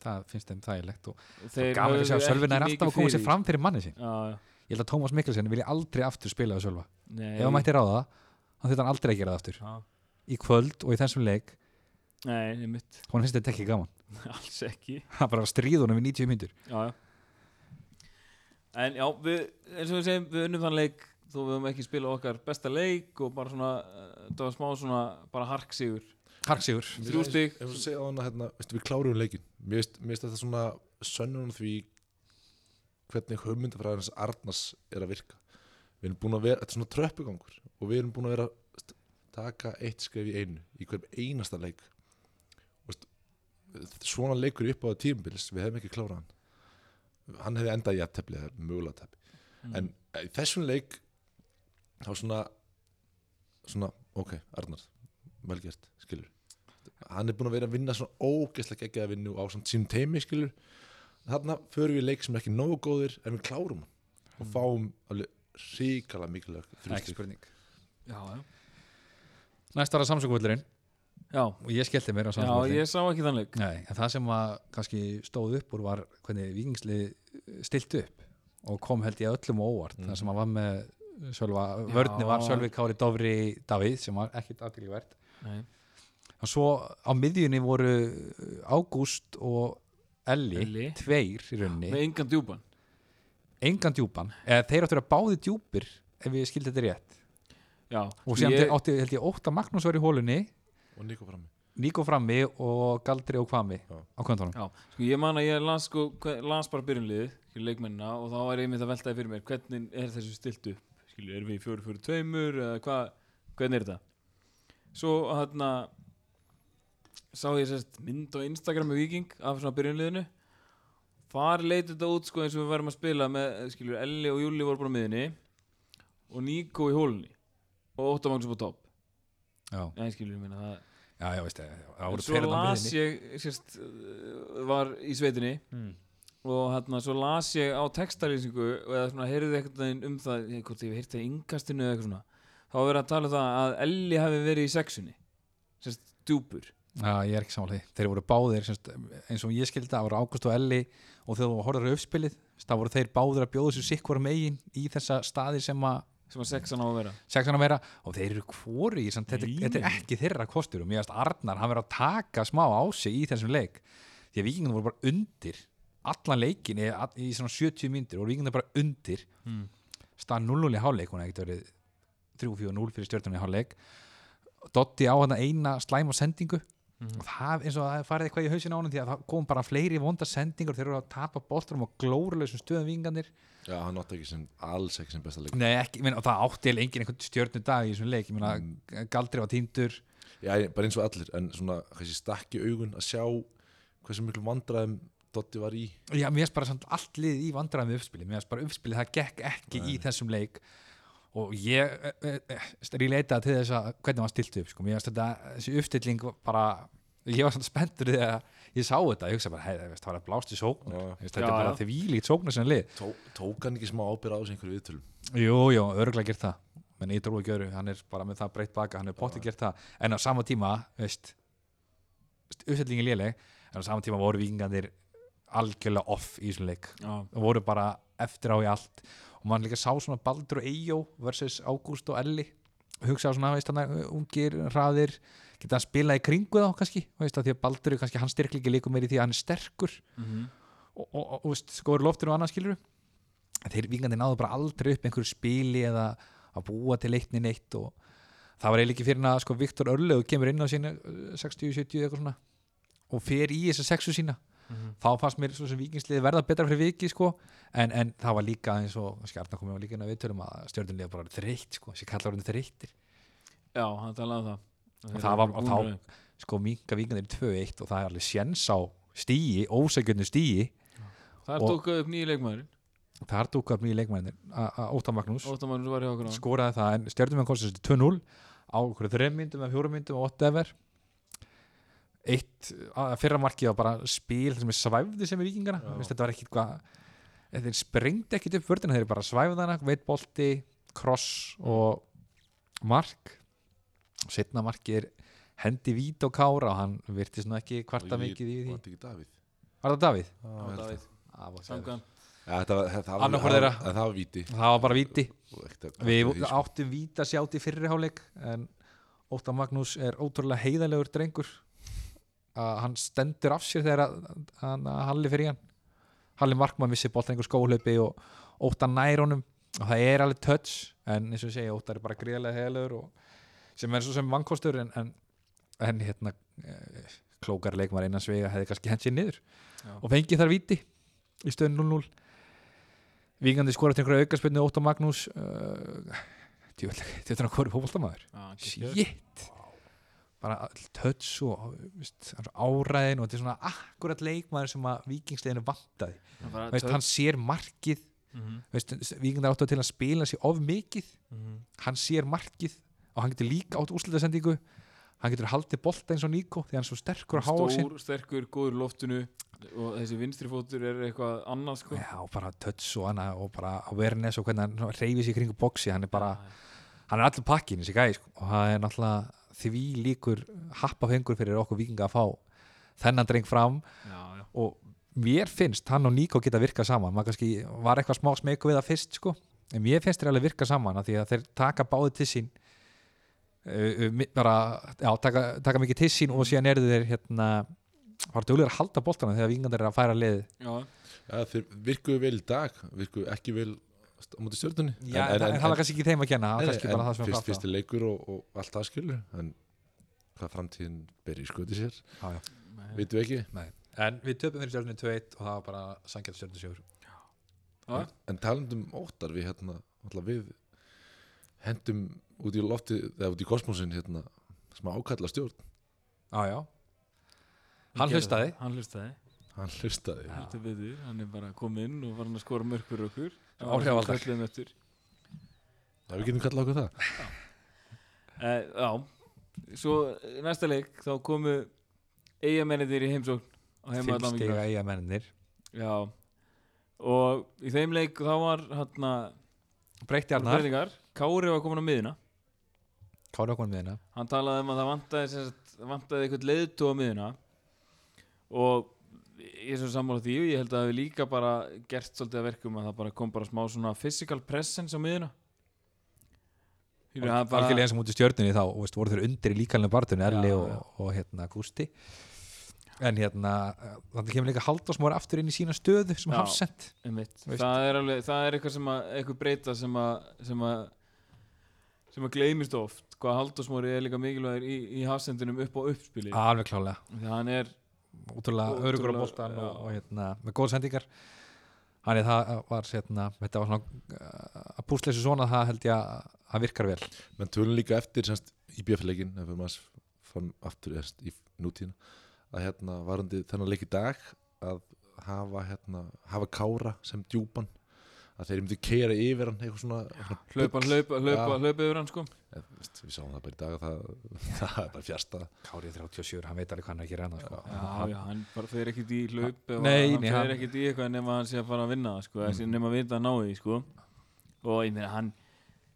Speaker 3: það finnst þeim þægilegt og
Speaker 2: Þeir
Speaker 3: gaman að sjá
Speaker 2: höfðu
Speaker 3: að
Speaker 2: ekki
Speaker 3: Sölvi er
Speaker 2: mikið
Speaker 3: alltaf að koma sér
Speaker 2: fyrir.
Speaker 3: fram fyrir manni sín
Speaker 2: Já, já.
Speaker 3: Ég held að Tómas Mikkelsen vilja aldrei aftur spila við Sölva
Speaker 2: Nei,
Speaker 3: Ef hann mætti ráða það, hann þetta hann aldrei að gera það aftur
Speaker 2: Já.
Speaker 3: Í kvöld og í þessum leik,
Speaker 2: Nei, einmitt,
Speaker 3: hún finnst þetta ekki gaman
Speaker 2: alls ekki
Speaker 3: Það er bara að stríða honum í 90 myndur
Speaker 2: Já, já En já, við, eins og við segjum, við unnum þann leik þó við höfum ekki spilað okkar besta leik og bara svona, eh, þetta var smá svona bara harksigur,
Speaker 3: Harksigur
Speaker 2: þrjú stig
Speaker 5: Ef við segja á hana, hérna, veistu, við klárum leikin Mér finnst mér finnst þetta svona sönnun á því hvernig hugmyndafræðarins Arnars er að virka Við erum búin að vera, þetta er svona tröppugangur og við erum búin að vera veist, taka eitt skref í einu, í hverjum einasta leik veist, svona leikur upp á það tímabils, við hefum ekki klárað hann hann hefði endað í að tefli eða mögulega tefli
Speaker 2: Mm.
Speaker 5: en eh, í þessum leik þá svona svona, ok, Arnar vel gert, skilur hann er búin að vera að vinna svona ógeðslega geggjaða vinnu á svona sínum teimi skilur þarna förum við í leik sem er ekki nógu góðir en við klárum hann og fáum alveg ríkala mikilvæg
Speaker 3: Ekki
Speaker 5: þrjústík
Speaker 3: spurning
Speaker 2: Já, já
Speaker 3: Næst var að samsöngvöldurinn
Speaker 2: Já,
Speaker 3: og ég skellti mér á
Speaker 2: já
Speaker 3: samsöngvöldurinn
Speaker 2: ég sá ekki þann leik
Speaker 3: Nei, en það sem að kannski stóð upp úr var hvernig vikingslið stilt upp og kom held ég öllum á óvart
Speaker 2: Mhm.
Speaker 3: það sem að var með Sölva, vörni var Sölvi Kári Dofri Davíð sem var ekkit aðtilvært
Speaker 2: Nei.
Speaker 3: og svo á miðjunni voru Ágúst og Elli,
Speaker 2: Elli.
Speaker 3: tveir
Speaker 2: með
Speaker 3: í rauninni,
Speaker 2: engan djúpan
Speaker 3: engan djúpan eða þeir áttu að vera báði djúpir ef ég skildi þetta rétt
Speaker 2: Já,
Speaker 3: og sem
Speaker 2: ég,
Speaker 3: ég... átti held ég ótt að Magnús var í hólunni
Speaker 5: og Nico frammi
Speaker 3: Níko frammi og Galdri og Kvami
Speaker 5: Já.
Speaker 3: á kvöntunum
Speaker 2: já, sko, ég man að ég las, sko, hve- las bara byrjunliðið fyrir leikmennina og þá var ég einmitt að veltaði fyrir mér hvernig er þessu stilt upp skilur, erum við í fjóru fjóru tveimur eða hvað, hvernig er þetta svo hérna sá ég sérst mynd á Instagram með Viking af svona byrjunliðinu þar leit þetta út sko eins og við verðum að spila með, skilur, Elli og Júli voru bara á miðinni og Níko í hólunni og Óttar Magnús upp á topp
Speaker 3: Já,
Speaker 2: Nei, skilur, ég meina það
Speaker 3: já, já, veist það, það
Speaker 2: En
Speaker 3: voru
Speaker 2: svo
Speaker 3: perurnar á
Speaker 2: las
Speaker 3: miðjunni.
Speaker 2: ég sérst, uh, var í sveitinni
Speaker 3: Hmm.
Speaker 2: og hérna svo las ég á textalýsingu og eða svona heyrði eitthvað veginn um það ég- hvort ég heyrti það í yngastinu eða eitthvað svona þá var verið að tala um það að Elli hafi verið í sexunni sérst djúpur
Speaker 3: Já, ég er ekki sammála því. Þeir voru báðir, semst, eins og ég skildi, það voru Ágúst og Elli og þegar þú horfður á uppspilið, semst, það voru þeir báðir að bjóða sér sikkur megin í þessa staði sem að
Speaker 2: sem að sexan á að vera
Speaker 3: sexan að vera og þeir eru hvori, semst, þetta,
Speaker 2: Nei.
Speaker 3: þetta er ekki þeirra kostur og mér finnst Arnar, hann verið að taka smá á sig í þessum leik því að vikingum voru bara undir allan leikin í, í svona 70 myndir voru vikingum bara undir mm. stað 0-0 í hálfleik, hún hefði ekkert verið 3-4-0 fyrir stjórnum í hálfleik Dotti á hann eina slæma sendingu og það eins og það farið eitthvað í hausin á hann því að það kom bara fleiri vonda sendingur þeir eru að tapa bolturum og glórulausum stöðum vingandir
Speaker 5: já, hann átti ekki sem, alls ekki sem besta leik
Speaker 3: Nei, ekki, menn, og það átti eða engin einhvern stjörnu dag í þessum leik, ég meina Galdri var týndur
Speaker 5: já, ég- bara eins og allir, en svona kannski stakk í augun að sjá hversu miklu vandræðum Dotti var í
Speaker 3: Já, mér finnst bara samt allt liðið í vandræðum með uppspilið, mér finnst bara uppspilið, það gekk ekki í þessum leik og ég e, e, leitaði til þess að hvernig var stilt upp, sko, mér finnst þetta þessi uppstilling var bara, ég var samt spenntur þegar ég sá þetta, ég hugsa bara, hei, það veist, það var að blást í sóknar,
Speaker 5: Já.
Speaker 3: Þú veist,
Speaker 2: Já,
Speaker 3: þetta er bara
Speaker 2: já.
Speaker 3: því vílít sóknar sem lið,
Speaker 5: Tó, tók hann ekki smá ábyrð á þessu einhverju viðtölum
Speaker 3: jú, jú, örgulega gert það menn ég trúi ekki öru, hann er bara með það breytt baka, hann er pottið gert það, en á sama tíma veist, uppstillingin léleg, en á sama tíma voru vikingandir algjörlega off í þessum leik
Speaker 2: já,
Speaker 3: og voru bara eftir á í allt og mann líka sá svona Baldur og Eyjó versus Ágúst og Elli hugsa á svona, veist hann, ungir, hraðir geta að spila í kringu þá kannski veist það, því að Baldur, er kannski hann styrkleiki líka meir í því að hann er sterkur og, og, og, og veist, skoður loftinu og annað skilur þeir vingandi náðu bara aldrei upp einhverju spili eða að búa til eitt neitt neitt og það var eiginlega ekki fyrir en að sko Viktor Örlögu kemur inn á sína uh, 60-70 eitthvað svona og fer í þessa sexu sína þá fannst mér svo sem vikingsliði verða betra fyrir viki sko, en, en það var líka eins og skjarnar komið á líka inn að viðtölum að stjórnunlega bara orðið þreytt sko, þessi kallar orðið þreyttir
Speaker 2: já, hann talaði um það
Speaker 3: og það var, og þá sko minga vikingandir 2-1 og það er alveg séns á stíi, ósækjöndu stíi
Speaker 2: þar
Speaker 3: og-
Speaker 2: tókuð upp nýju leikmæður
Speaker 3: þar dúka upp nýja leikmæðinir að Óta Magnús
Speaker 2: Óttar Magnús var hjá okkur á
Speaker 3: skoraði það en stjórnum hann kostið þessi 2-0 á okkur þreim myndum eða fjórum myndum og whatever eitt að- fyrra markið var bara spil sem er svæfði sem er vikingana Þú veist, þetta var ekkit hvað þeir sprengdi ekkit upp vördina þeir bara svæfði hana, veitbolti, kross og mark setna markið er hendi vít og kára og hann virti svona ekki kvarta
Speaker 5: Og ég-
Speaker 3: mikið í því
Speaker 5: var þetta ekki Davíð?
Speaker 3: Var það Davíð?
Speaker 5: Já, ég held það.
Speaker 3: Það var-
Speaker 2: Samkvæmt.
Speaker 5: Ja, þetta var- þetta var-
Speaker 3: Annar hvor
Speaker 5: það
Speaker 3: þeirra.
Speaker 5: var- en það var víti
Speaker 3: Það var bara víti
Speaker 5: Og ekkert að-
Speaker 3: Við
Speaker 5: því, sko.
Speaker 3: áttum víta sjátt í fyrri háleik en Óttar Magnús er ótrúlega heiðalegur drengur að hann stendur af sér þegar að, að, að Halli fyrir hann Halli Markmann vissi boltan einhver skóhlaupi og Óttar nær honum og það er alveg touch en eins og ég segi Óttar er bara gríðlega heiðalegur og sem er svo sem vankostur en, en, en hérna eh, klókar leikmar einan svega hefði kannski hent sér niður
Speaker 2: Já.
Speaker 3: og fengið þar víti í stöðun 0-0 Víkandi skorar til einhverja aukarspilnu Óttar Magnús uh, djúvöldlega, þetta er hann hvori fótboltamaður Shit bara all töts og veist, hann er svo áræðin og þetta er svona akkurat leikmaður sem að vikingsleginu vantaði veist, hann sér markið veist, vikindar áttu til að spila sér of mikið hann sér markið og hann getur líka átt úrslutasendingu hann getur haldið bolta eins og Níko því hann er svo sterkur að háa sinn
Speaker 2: Stór, sterkur, góður í loftinu og þessi vinstri fótur er eitthvað annað sko
Speaker 3: Já, og bara touch og annað og bara awareness og hvernig hann reyfi sér kringu boxi hann er bara, hann er allur pakkin þessi gæði sko. og það er náttúrulega því líkur happafengur fyrir okkur vikinga að fá þennan dreng fram
Speaker 2: já, já.
Speaker 3: og mér finnst hann og Nico geta virkað saman maður kannski var eitthvað smá smeku við það fyrst sko. en mér finnst þeir alveg virka saman af því að þeir taka báði til sín uh, uh, mi- bara já, taka, taka mikið til sín og síðan eru þeir hérna, var duglegur að halda boltana þegar vingandir er að færa liðið
Speaker 2: Já.
Speaker 5: ja, þeir virkuðu vel í dag virkuðu ekki vel st- á móti stjórnunni
Speaker 3: Já, en, en, en, það var kannski ekki þeim að kenna það var kannski bara það sem við
Speaker 5: fyrst,
Speaker 3: plátt
Speaker 5: fyrsti leikur og, og allt það skilur en hvað framtíðin ber í skoti sér
Speaker 3: á já.
Speaker 5: vitum við ekki
Speaker 3: Nei. En við töpum fyrir stjórnum 2-1 og það var bara sangjætt stjórnum 7
Speaker 2: Já.
Speaker 5: en talandum óttar við hérna alltaf við hendum út í lofti eða út í kosmosin hérna smá ákalla stjórn
Speaker 3: Já, já Hann
Speaker 2: Gerðu
Speaker 3: hlustaði
Speaker 2: það. hann hlustaði
Speaker 5: hann hlustaði
Speaker 2: heldur betur, hann er bara komið inn og var hann að skora mörg fyrir okkur
Speaker 3: Áhrifavaldar.
Speaker 2: Kölluðum eftir.
Speaker 5: ja, við getum kallað okkur það
Speaker 2: Eh, já, svo eh, næsta leik þá komu eigamennir í heimsókn á heima
Speaker 3: Fimm stiga eiga mennir
Speaker 2: já og í þeim leik þá var hérna
Speaker 3: Breytti Arnar,
Speaker 2: breytingar, Kári var komin á miðina
Speaker 3: kára okkur með hérna
Speaker 2: hann talaði um að það vantaði, sem sagt, vantaði eitthvað leiðtóa miðuna og ég er svo sammála því og ég held að það hafi líka bara gert svolítið að verkum að það bara kom bara smá svona physical presence á miðuna Fyrir að það bara-
Speaker 3: Algjörlega eins og mútið stjórnunni þá veist, voru þeir undir í líkalinu barðinu Erli
Speaker 2: Já,
Speaker 3: og,
Speaker 2: já.
Speaker 3: og hérna Gústi En hérna, þannig kemur líka Halldórs mór aftur inn í sína stöðu sem
Speaker 2: Já.
Speaker 3: hafsend
Speaker 2: Einmitt.
Speaker 3: Veist-
Speaker 2: það er alveg, það er eitthvað sem að eitthvað breyta sem að sem að, sem að gleymist oft hvað Halldórsmóri er líka mikilvægur í, í hafsendinum upp á uppspili
Speaker 3: Alveg klálega
Speaker 2: þannig að hann er
Speaker 3: ótrúlega örugur á
Speaker 2: Ótrúlega,
Speaker 3: boltan og,
Speaker 2: já.
Speaker 3: og hérna, með góð sendingar Þannig það var hérna, þetta var svona uh, að púsla þessu svona það held ég að það virkar vel
Speaker 5: menn tölum líka eftir semst í BF-leikin ef maður fann aftur erst í nútíðina að hérna varandi þennan leik í dag að hafa hérna hafa kára sem djúpan að þeir myndu keira yfir hann eitthvað svona, svona
Speaker 2: hlaupa, hlaupa, hlaupa,
Speaker 5: Já.
Speaker 2: hlaupa yfir hann sko
Speaker 5: Eða, veist, við sáum það bara í dag að það, það er bara fjasta
Speaker 3: Kárið 37, hann veit alveg hvað hann er að gera hann sko.
Speaker 2: Já, já, hann bara fer ekkert í hlaup og hann
Speaker 3: Nei, nei,
Speaker 2: fer
Speaker 3: hann-
Speaker 2: ekkert í eitthvað nema hann sé að fara að vinna það, sko, mm. nema að vita að ná því sko. og ég meina hann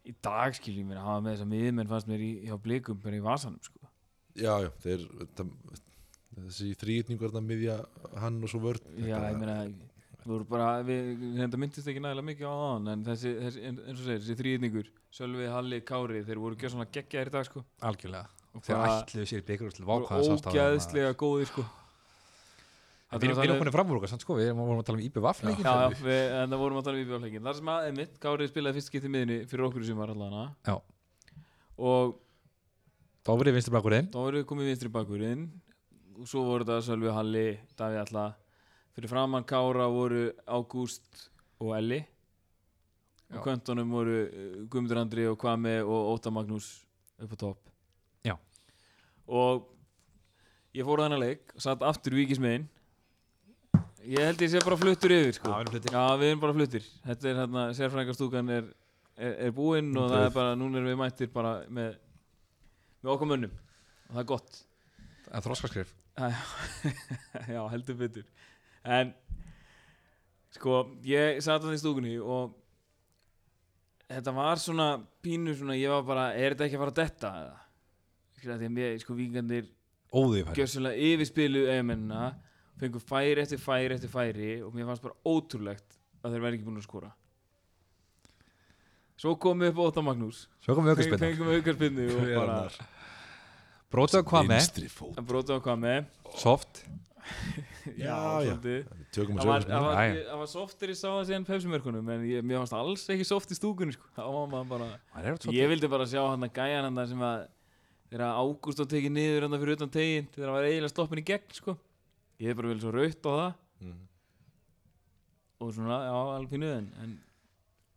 Speaker 2: í dag skil ég meina hafa með þess að miðmenn fannst mér í, hjá blikum bara í vasanum sko.
Speaker 5: já, já, þeir það, þessi þrýðningur þarna miðja hann og svo vörn
Speaker 2: já, ég meina við vorum bara, við, þetta myndist ekki nægilega mikið á hann en þessi, þessi en- eins og segir, þessi þrýðningur Sölvi, Halli, Kári, þeir voru gjörð svona geggjaðir í dag sko,
Speaker 3: Algjörlega
Speaker 2: og
Speaker 3: Þeir
Speaker 2: bara
Speaker 3: ætluðu sér byggur úr til
Speaker 2: voru
Speaker 3: vákvæða
Speaker 2: ógæðslega góðir sko
Speaker 3: Við við erum komin fram úr okkar, samt, sko, við erum- vorum að tala um IBVF
Speaker 5: Já.
Speaker 3: leikin
Speaker 2: Já, já, við, en það vorum að tala um íbjörleikin Þar sem að, einmitt, Kári spilaði fyrst getið miðinni fyrir okkur sem var allana
Speaker 3: Já.
Speaker 2: Og
Speaker 3: Þá verið vinstur blakurinn
Speaker 2: þá voru við komið vinstri bakurinn Og svo voru það Sölvi Halli, Davíð Alla Fyrir framann Kára voru Ágúst og Elli
Speaker 3: Já.
Speaker 2: Og kvöntunum voru eh, Guðmundur Andri og Kvame og Óta Magnús upp á topp
Speaker 3: Já.
Speaker 2: Og ég fór á þennan leik Satt aftur víkismegin Ég held ég sé bara fluttur yfir sko. Já, við erum bara fluttir Þetta er hérna, sérfræðingarstúkan er, er, er búinn og það er bara, núna erum við mættir bara með, með okkar mönnum og það er gott
Speaker 3: En þróskaskrif
Speaker 2: Já, heldur betur En, sko, ég sat að í stúkunni og þetta var svona pínu svona, ég var bara, er þetta ekki að fara að detta eða? Skilurðu, skilja því að mér, sko, vikingandir
Speaker 3: Óðifæri
Speaker 2: gjössalega yfirspilu eigamennina fengu færi eftir færi eftir færi og mér fannst bara ótrúlegt að þeir væri ekki búin að skora svo komum við upp á Óta Magnús
Speaker 3: Svo komum við
Speaker 2: Feng-
Speaker 3: aukarspilna
Speaker 2: fengum aukarspinnu og bara
Speaker 3: Brótið á hvað með,
Speaker 5: Vinstri fót
Speaker 2: að brota á hvað með
Speaker 3: soft
Speaker 5: Já, já.
Speaker 2: svolítið.
Speaker 5: Tökum
Speaker 2: Það
Speaker 5: að
Speaker 2: var,
Speaker 5: sögur
Speaker 2: það var,
Speaker 3: Jæja.
Speaker 2: það var softir ég sá það síðan pepsimörkunum en ég, mér fannst alls ekki soft í stúkunni sko. það var maður bara
Speaker 3: Það er oft
Speaker 2: Ég vildi bara sjá hann að gæjan hann sem að þegar Ágúst á tekið niður hann fyrir utan tegin þegar hann var eiginlega stoppin í gegn sko. ég hef bara vel svo raut á það
Speaker 5: Mhm.
Speaker 2: og svona, já, alveg pínu en, en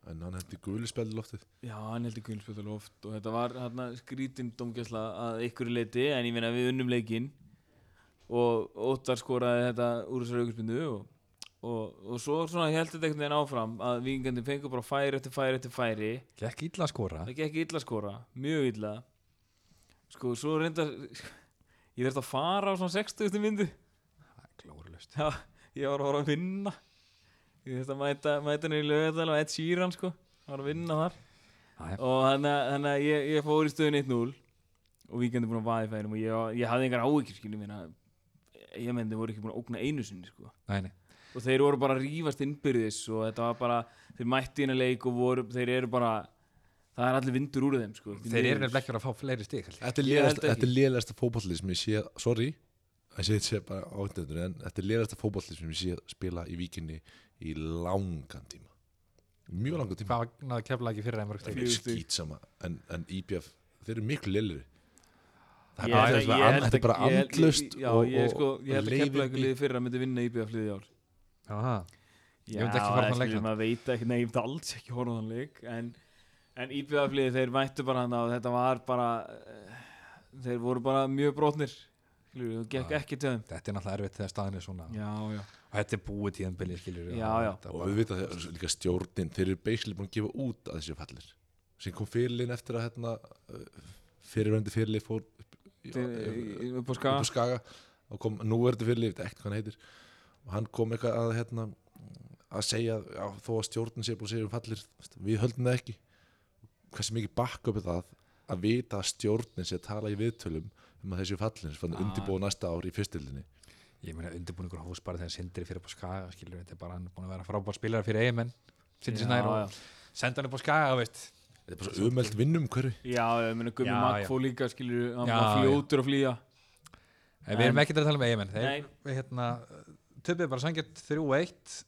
Speaker 5: En hann hendi gulispeldi loftið
Speaker 2: já, hann heldur gulspjöld alveg oft og þetta var hann skrítin domgæsla að ykkur leiti en ég meina við unnum leikinn og Óttar skoraði þetta úr þessari augurspindu og, og, og svo svona held þetta einhvern veginn áfram að vikingandi fengur bara færi eftir færi eftir færi
Speaker 3: Gekk illa að skora
Speaker 2: það gekk illa að skora, mjög illa sko, svo reyndar ég þurfti að fara á svona 60. myndu
Speaker 3: Glórulust
Speaker 2: já, ég var að fara að vinna ég þurfti að mæta, mæta niður í lögadal og Ed Sheeran sko, ég var að vinna þar
Speaker 3: Jæja.
Speaker 2: og þannig að ég, ég fór í stöðun 1-0 og víkandi búin að vaða í færum og ég, ég hafði engar áhyggjur skilum minna ég menn þau voru ekki búin að ógna einu sinni sko
Speaker 3: Næni
Speaker 2: og þeir voru bara að rífast innbyrðis og þetta var bara, þeir mætti inn að leik og voru, þeir eru bara það er allir vindur úr þeim sko, því
Speaker 3: Þeir
Speaker 2: miður.
Speaker 3: eru nefnilega ekki að fá fleiri stík
Speaker 5: Þetta
Speaker 2: Ég held ekki.
Speaker 5: er lélægasta fótballið sem ég sé Sorry að ég sé bara átöndur En þetta er lélægasta fótballið sem ég sé spila í víkinni Í langan tíma Mjög langan tíma
Speaker 3: Hvað náðu kefla ekki fyrir einmörg stík
Speaker 2: Fjögur stig.
Speaker 5: Skýt sama En, en IPF, þeir eru miklu lélæri
Speaker 2: Ég
Speaker 5: bara-
Speaker 2: held að- ég held
Speaker 5: þetta er bara- þetta er bara
Speaker 2: að- ég held-
Speaker 5: andlaust
Speaker 2: já,
Speaker 5: og-
Speaker 2: ég,
Speaker 5: og-
Speaker 2: sko, ég held að kemla
Speaker 5: og leifindi.
Speaker 2: eitthvað liðið fyrra myndi vinna IBF liðið í ár
Speaker 3: Þetta
Speaker 2: Já,
Speaker 3: Ég myndi ekki fara á þann
Speaker 2: það
Speaker 3: leik
Speaker 2: skilur maður veit ekki, nei, ég myndi alls ekki horfa á þann leik en, en IBF liðið, þeir mættu bara hann og þetta var bara eh, þeir voru bara mjög brotnir skilur, og gekk ekki til þeim
Speaker 3: er náttúrulega erfitt þegar staðin er svona
Speaker 2: Já, já,
Speaker 3: Og þetta er búið tíðanbili skilur
Speaker 2: Já, já.
Speaker 5: Og við veitum að þeir eru líka stjórnin Þeir eru basically búin að gefa út að þessi fallir sem kom fyrirlin eftir að hérna, fyrirvendi fyrirlið fór upp, í-
Speaker 2: Til- upp á
Speaker 5: upp á
Speaker 2: skaga
Speaker 5: Skaga og kom núverði fyrir líf, ekkert hvað hann heitir og hann kom eitthvað að hérna að segja, já, þó að stjórnin sé búin að segja um fallir, við höldum það ekki hversu mikið bakk upp er það að vita að stjórnin sé að tala í viðtölum um að þessi fallin sem fann
Speaker 2: Ah.
Speaker 5: undirbúið næsta ár í fyrstildinni
Speaker 3: Ég meina undirbúningur hófst bara þegar Sindri fyrir upp á skaga skilur Þetta er bara hann er búin að vera frábær spilari fyrir eigimenn Sindri
Speaker 2: Já,
Speaker 3: Snær
Speaker 2: já.
Speaker 3: og senda hann upp á skaga veist.
Speaker 5: þetta er bara svo umelt vinnum hverju
Speaker 2: Já, ég meina Gummi
Speaker 3: Já, já.
Speaker 2: Magfó líka skilur, hann
Speaker 3: Já,
Speaker 2: var
Speaker 3: já.
Speaker 2: fljótur að flýja
Speaker 3: En Við erum ekki að tala um eigimenn
Speaker 2: Nei.
Speaker 3: Þeir við hérna, töpuðu bara sangjart 3-1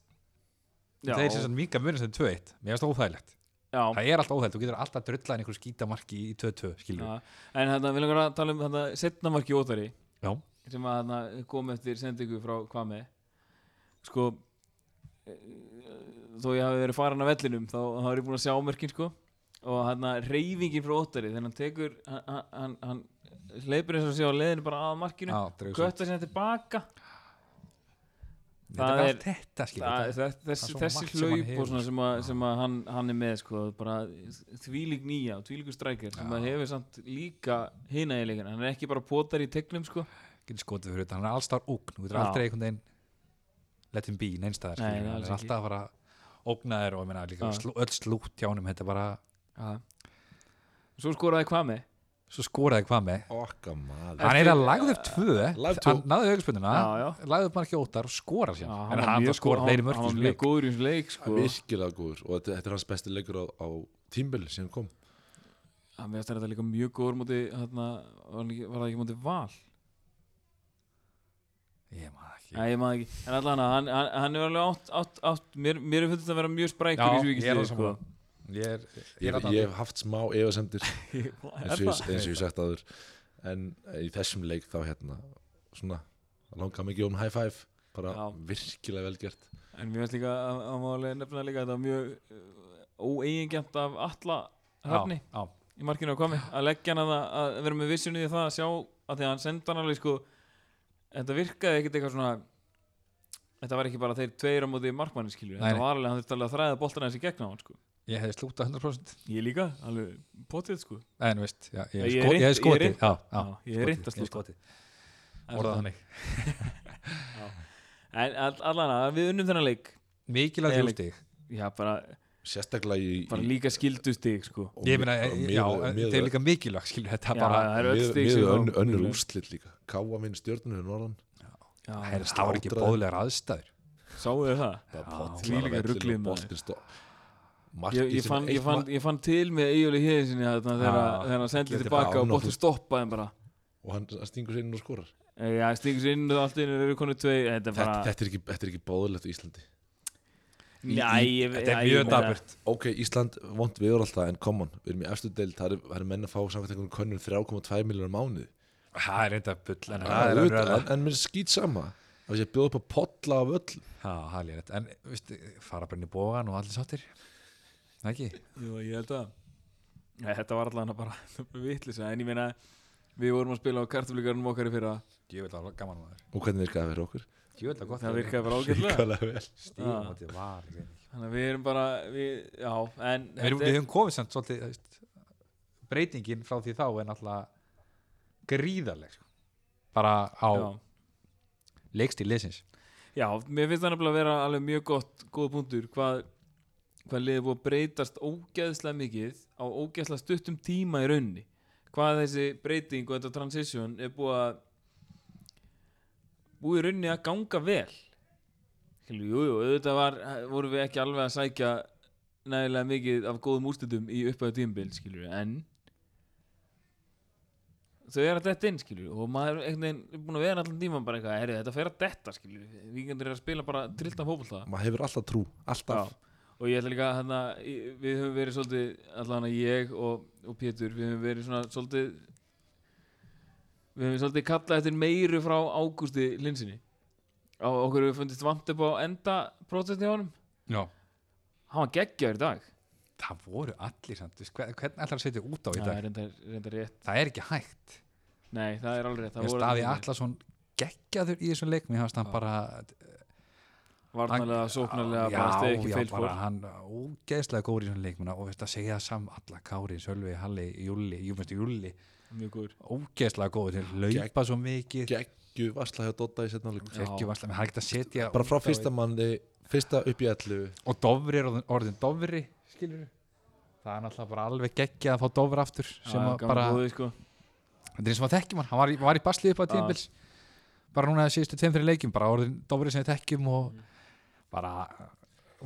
Speaker 2: Já,
Speaker 3: Þeir sem sann minga munið sem 2-1 Mér finnst það óþægilegt
Speaker 2: já,
Speaker 3: Það er alltaf óþægt, þú getur alltaf drullað inn einhver skítamarki í 2-2 skilur
Speaker 2: já. En þetta, við langar að tala um þetta setnamarki ótari
Speaker 3: Já.
Speaker 2: sem að þarna kom eftir sendingu frá Kvame sko eh, þó ég hafi verið farin af vellinum þá þá er ég búin að sjá mörkin sko og hann reyfingin frá ótari þegar hann tekur hann, hann, hann- hann leipur eins og sé á leiðinu bara að markinu
Speaker 3: Já, dregur svo.
Speaker 2: götta sér tilbaka
Speaker 3: Þetta er
Speaker 2: það
Speaker 3: bara
Speaker 2: er-
Speaker 3: allt þetta skilur
Speaker 2: Það-
Speaker 3: þetta-
Speaker 2: þess-
Speaker 3: það
Speaker 2: þessi,
Speaker 3: er
Speaker 2: þessi
Speaker 3: svo margt sem hann
Speaker 2: hlaup
Speaker 3: hefur,
Speaker 2: og svona
Speaker 3: sko.
Speaker 2: sem, að, sem að hann, hann er með sko, bara þvílík nýja og þvílíkur strækir sem að hefur samt líka hina í leikinu, hann er ekki bara potar í tegnum sko.
Speaker 3: getur skotið fyrir utan, hann er allstar ógn þú getur
Speaker 2: Já.
Speaker 3: aldrei einhvern veginn let him be neinstæðar,
Speaker 2: Nei,
Speaker 3: hann
Speaker 2: alls
Speaker 3: er
Speaker 2: ekki.
Speaker 3: alltaf að fara að ógna þér og ég meina líka
Speaker 2: Já.
Speaker 3: slú, öll slútt hjá honum, þetta er bara
Speaker 2: svo skoraði hvað með
Speaker 3: svo skoraði hvað með,
Speaker 5: okka maður
Speaker 3: hann er að lagði upp tvö
Speaker 5: Lagði upp tvö.
Speaker 3: hann náði aukvöspununa
Speaker 2: Já, já.
Speaker 3: lagði upp marki óttar og skora sér en hann
Speaker 2: mjög
Speaker 3: það skora
Speaker 2: góð-
Speaker 3: fleiri
Speaker 2: hann- hann var
Speaker 3: mörki
Speaker 2: mjög góður í þessu leik sko.
Speaker 5: virkilega góður og þetta, þetta er hans besti leikur á, á tímbili sem kom
Speaker 2: hann veist þetta líka mjög góður múti, hérna, var, hann ekki- var það ekki múti val
Speaker 3: ég maður ekki
Speaker 2: Nei, ég maður ekki, en allan hann, hann, hann er alveg átt, átt, átt mér, mér er fundið að vera mjög sprækur í
Speaker 3: Já,
Speaker 2: þessu sko. vikið
Speaker 3: ég er alveg sammála. ég er,
Speaker 5: ég,
Speaker 3: er
Speaker 5: ég,
Speaker 3: ég,
Speaker 5: hef haft smá efasemdir
Speaker 2: er
Speaker 5: eins
Speaker 2: það?
Speaker 5: og, ég- eins og ég hef sagt aður en eh, í þessum leik þá hérna svona, langar mikið um high five bara
Speaker 2: Já.
Speaker 5: virkilega vel gert
Speaker 2: En mér finnst líka að að má alveg nefna líka að þetta var mjög uh, óeigingjant af alla höfni
Speaker 3: já, já,
Speaker 2: í markinu að komi að leggja hann að, að vera með vissunni í það að sjá að því að hann senda hann alveg sko þetta virkaði ekkert eitthvað svona þetta var ekki bara þeir tveir á móti markmanni skilur
Speaker 3: Nei, nei.
Speaker 2: þetta var alveg hann þurfti alveg að þræða boltan hans í gegn á hann sko
Speaker 3: ég hef slúta 100%
Speaker 2: ég líka, alveg potið sko
Speaker 3: en þú veist, já, ég hef
Speaker 2: Ég er
Speaker 3: sko- ég
Speaker 2: reynt- ég er
Speaker 3: hef skotið
Speaker 2: reynt-
Speaker 3: já, já,
Speaker 2: Já, ég er reynt að
Speaker 3: skotið, ég
Speaker 2: slúta.
Speaker 3: hef skotið. orðað þannig
Speaker 2: en all, allan að við unnum þennan leik
Speaker 3: mikilvægt
Speaker 2: Ég
Speaker 3: þrjú
Speaker 2: leik-
Speaker 3: stig
Speaker 2: já bara
Speaker 5: sérstaklega í,
Speaker 2: bara
Speaker 5: í
Speaker 2: líka skildustig sko
Speaker 5: og
Speaker 3: Ég
Speaker 5: mi-
Speaker 3: meina, eh,
Speaker 5: og miðað-
Speaker 3: já, en
Speaker 5: miðað-
Speaker 3: þetta er líka mikilvægt, skilur þetta
Speaker 2: Já,
Speaker 3: bara,
Speaker 2: það er öll
Speaker 5: miðað-
Speaker 2: stig sem
Speaker 5: miðað
Speaker 2: þá-
Speaker 5: önn- önnur
Speaker 2: Já.
Speaker 5: úrslit líka Káa minn stjörnum fyrir norðan
Speaker 3: það
Speaker 2: Já,
Speaker 3: er- það var ekki
Speaker 5: slátrað.
Speaker 3: bóðlegar aðstæður.
Speaker 2: sáu þið það? þvílíka ruglið, maður. Ég, ég, fann, ég, fann, ég fann til með Egilur Híðinsinni þarna þegar
Speaker 4: Já.
Speaker 2: þegar hann sendi
Speaker 5: Þetta er
Speaker 2: tilbaka
Speaker 5: bara
Speaker 2: og bótti
Speaker 5: ánokkuð.
Speaker 2: stoppaði hann bara
Speaker 5: og hann hann stingur sér inn og skorar
Speaker 2: Eh, Já, stingur sér inn og allt inn eru konu tvei Þetta er
Speaker 5: þetta,
Speaker 2: bara
Speaker 5: þetta, er ekki, þetta er ekki báðilegt á Íslandi
Speaker 2: Nei, ég-
Speaker 3: Þetta
Speaker 2: já,
Speaker 3: er
Speaker 2: ég
Speaker 3: mjög
Speaker 2: meina-
Speaker 3: daburt.
Speaker 5: ok, Ísland vond viður alltaf en common, við erum í efstu deild það eru er menn að fá samkvæmt einhvern könnun 3,2 miljonar mánuð
Speaker 3: Það er reynda bull, en það er
Speaker 5: en,
Speaker 3: önnur
Speaker 5: en,
Speaker 3: ræða.
Speaker 5: en mér er skýt sama að ég bjóð upp að potla af öll
Speaker 3: Já, það er lérið. En, veistu, fara bara inn í bógan og allir sáttir. Það ekki?
Speaker 2: Jú, ég held að Nei, þetta var allan að bara vitlisa En ég meina, við vorum að spila á kartaflíkarnum okkar í fyrra
Speaker 3: Ég vil að gaman maður.
Speaker 5: og hvernig virkaði fyrir okkur
Speaker 3: Ég vil að gott
Speaker 2: Það virkaði bara ágætlega
Speaker 5: Ríkalega vel
Speaker 3: Stíðum
Speaker 2: Já.
Speaker 3: á því var. ég veit ekki.
Speaker 2: Þannig að við erum bara, við, já En
Speaker 3: Við erum-
Speaker 2: þetta
Speaker 3: við
Speaker 2: er-
Speaker 3: höfum komið samt svolítið, þú veist, breytingin frá því þá er náttúrulega gríðarleg. sko. Bara á
Speaker 2: já.
Speaker 3: leikstíl liðsins.
Speaker 2: Já, mér finnst það nefnilega að vera alveg mjög gott, góð punktur, hvað, hvað liðið er búið að breytast ógeðslega mikið á ógeðslega stuttum tíma í raunni. Hvað þessi breyting og þetta transition er búið að búið í raunni að ganga vel. Skilu, jú, jú, auðvitað var, vorum við ekki alveg að sækja nægilega mikið af góðum úrslitum í upphæðu tímbil, skilur við, en þau eru að detta inn skilju og maður er einhvern veginn er búin að vera allan tíma bara eitthvað, herri þetta fer að detta skilju vikendur eru að spila bara trillta fókbalta
Speaker 5: maður hefur alltaf trú, alltaf
Speaker 2: og ég ætla líka hérna, í- við höfum verið svolítið allan að ég og, og Pétur við höfum verið svona svolítið við höfum svolítið kallað eftir meiru frá ágústi linsinni á okkur hefur fundist vant upp á enda prótestin hjá honum,
Speaker 3: Já.
Speaker 2: hann var geggjaður í dag
Speaker 3: Það voru allir samt, þú veist, hver- hvernig ætlar að setja út á í
Speaker 2: það er
Speaker 3: dag?
Speaker 2: reyndar, reyndar rétt
Speaker 3: Það er ekki hægt.
Speaker 2: nei það er alveg rétt það
Speaker 3: Mér
Speaker 2: voru
Speaker 3: staði
Speaker 2: allir-
Speaker 3: Allarsson geggjaður í þessum leik mér hafst hann bara
Speaker 2: varnarlega, sóknarlega,
Speaker 3: já,
Speaker 2: bara stegi ekki
Speaker 3: já,
Speaker 2: feilspor
Speaker 3: bara hann ógeðslega góður í þessum leik menna, og veist að segja það saman alla Kári, Sölvi, Halli, Júli, Júmestu Júli
Speaker 2: mjög góður
Speaker 3: ógeðslega góður til að laupa svo mikið
Speaker 5: geggju varsla hjá Dotta í setna líka
Speaker 3: ekki varsla, menn hann er ekki að setja
Speaker 5: bara frá
Speaker 3: út á
Speaker 5: fyrsta manni, fyrsta upp í allu
Speaker 3: við- og dofri er orðin, orðin dofri skilur það er náttúrulega bara alveg geggja að fá dofri aftur sem að bara,
Speaker 2: góði, sko.
Speaker 3: þetta er eins og maður þekkjum hann hann var í, var í baslið upp á tíðbils bara núna síðustu tveim fyrir leikjum, bara orðin dofri sem við þekkjum og bara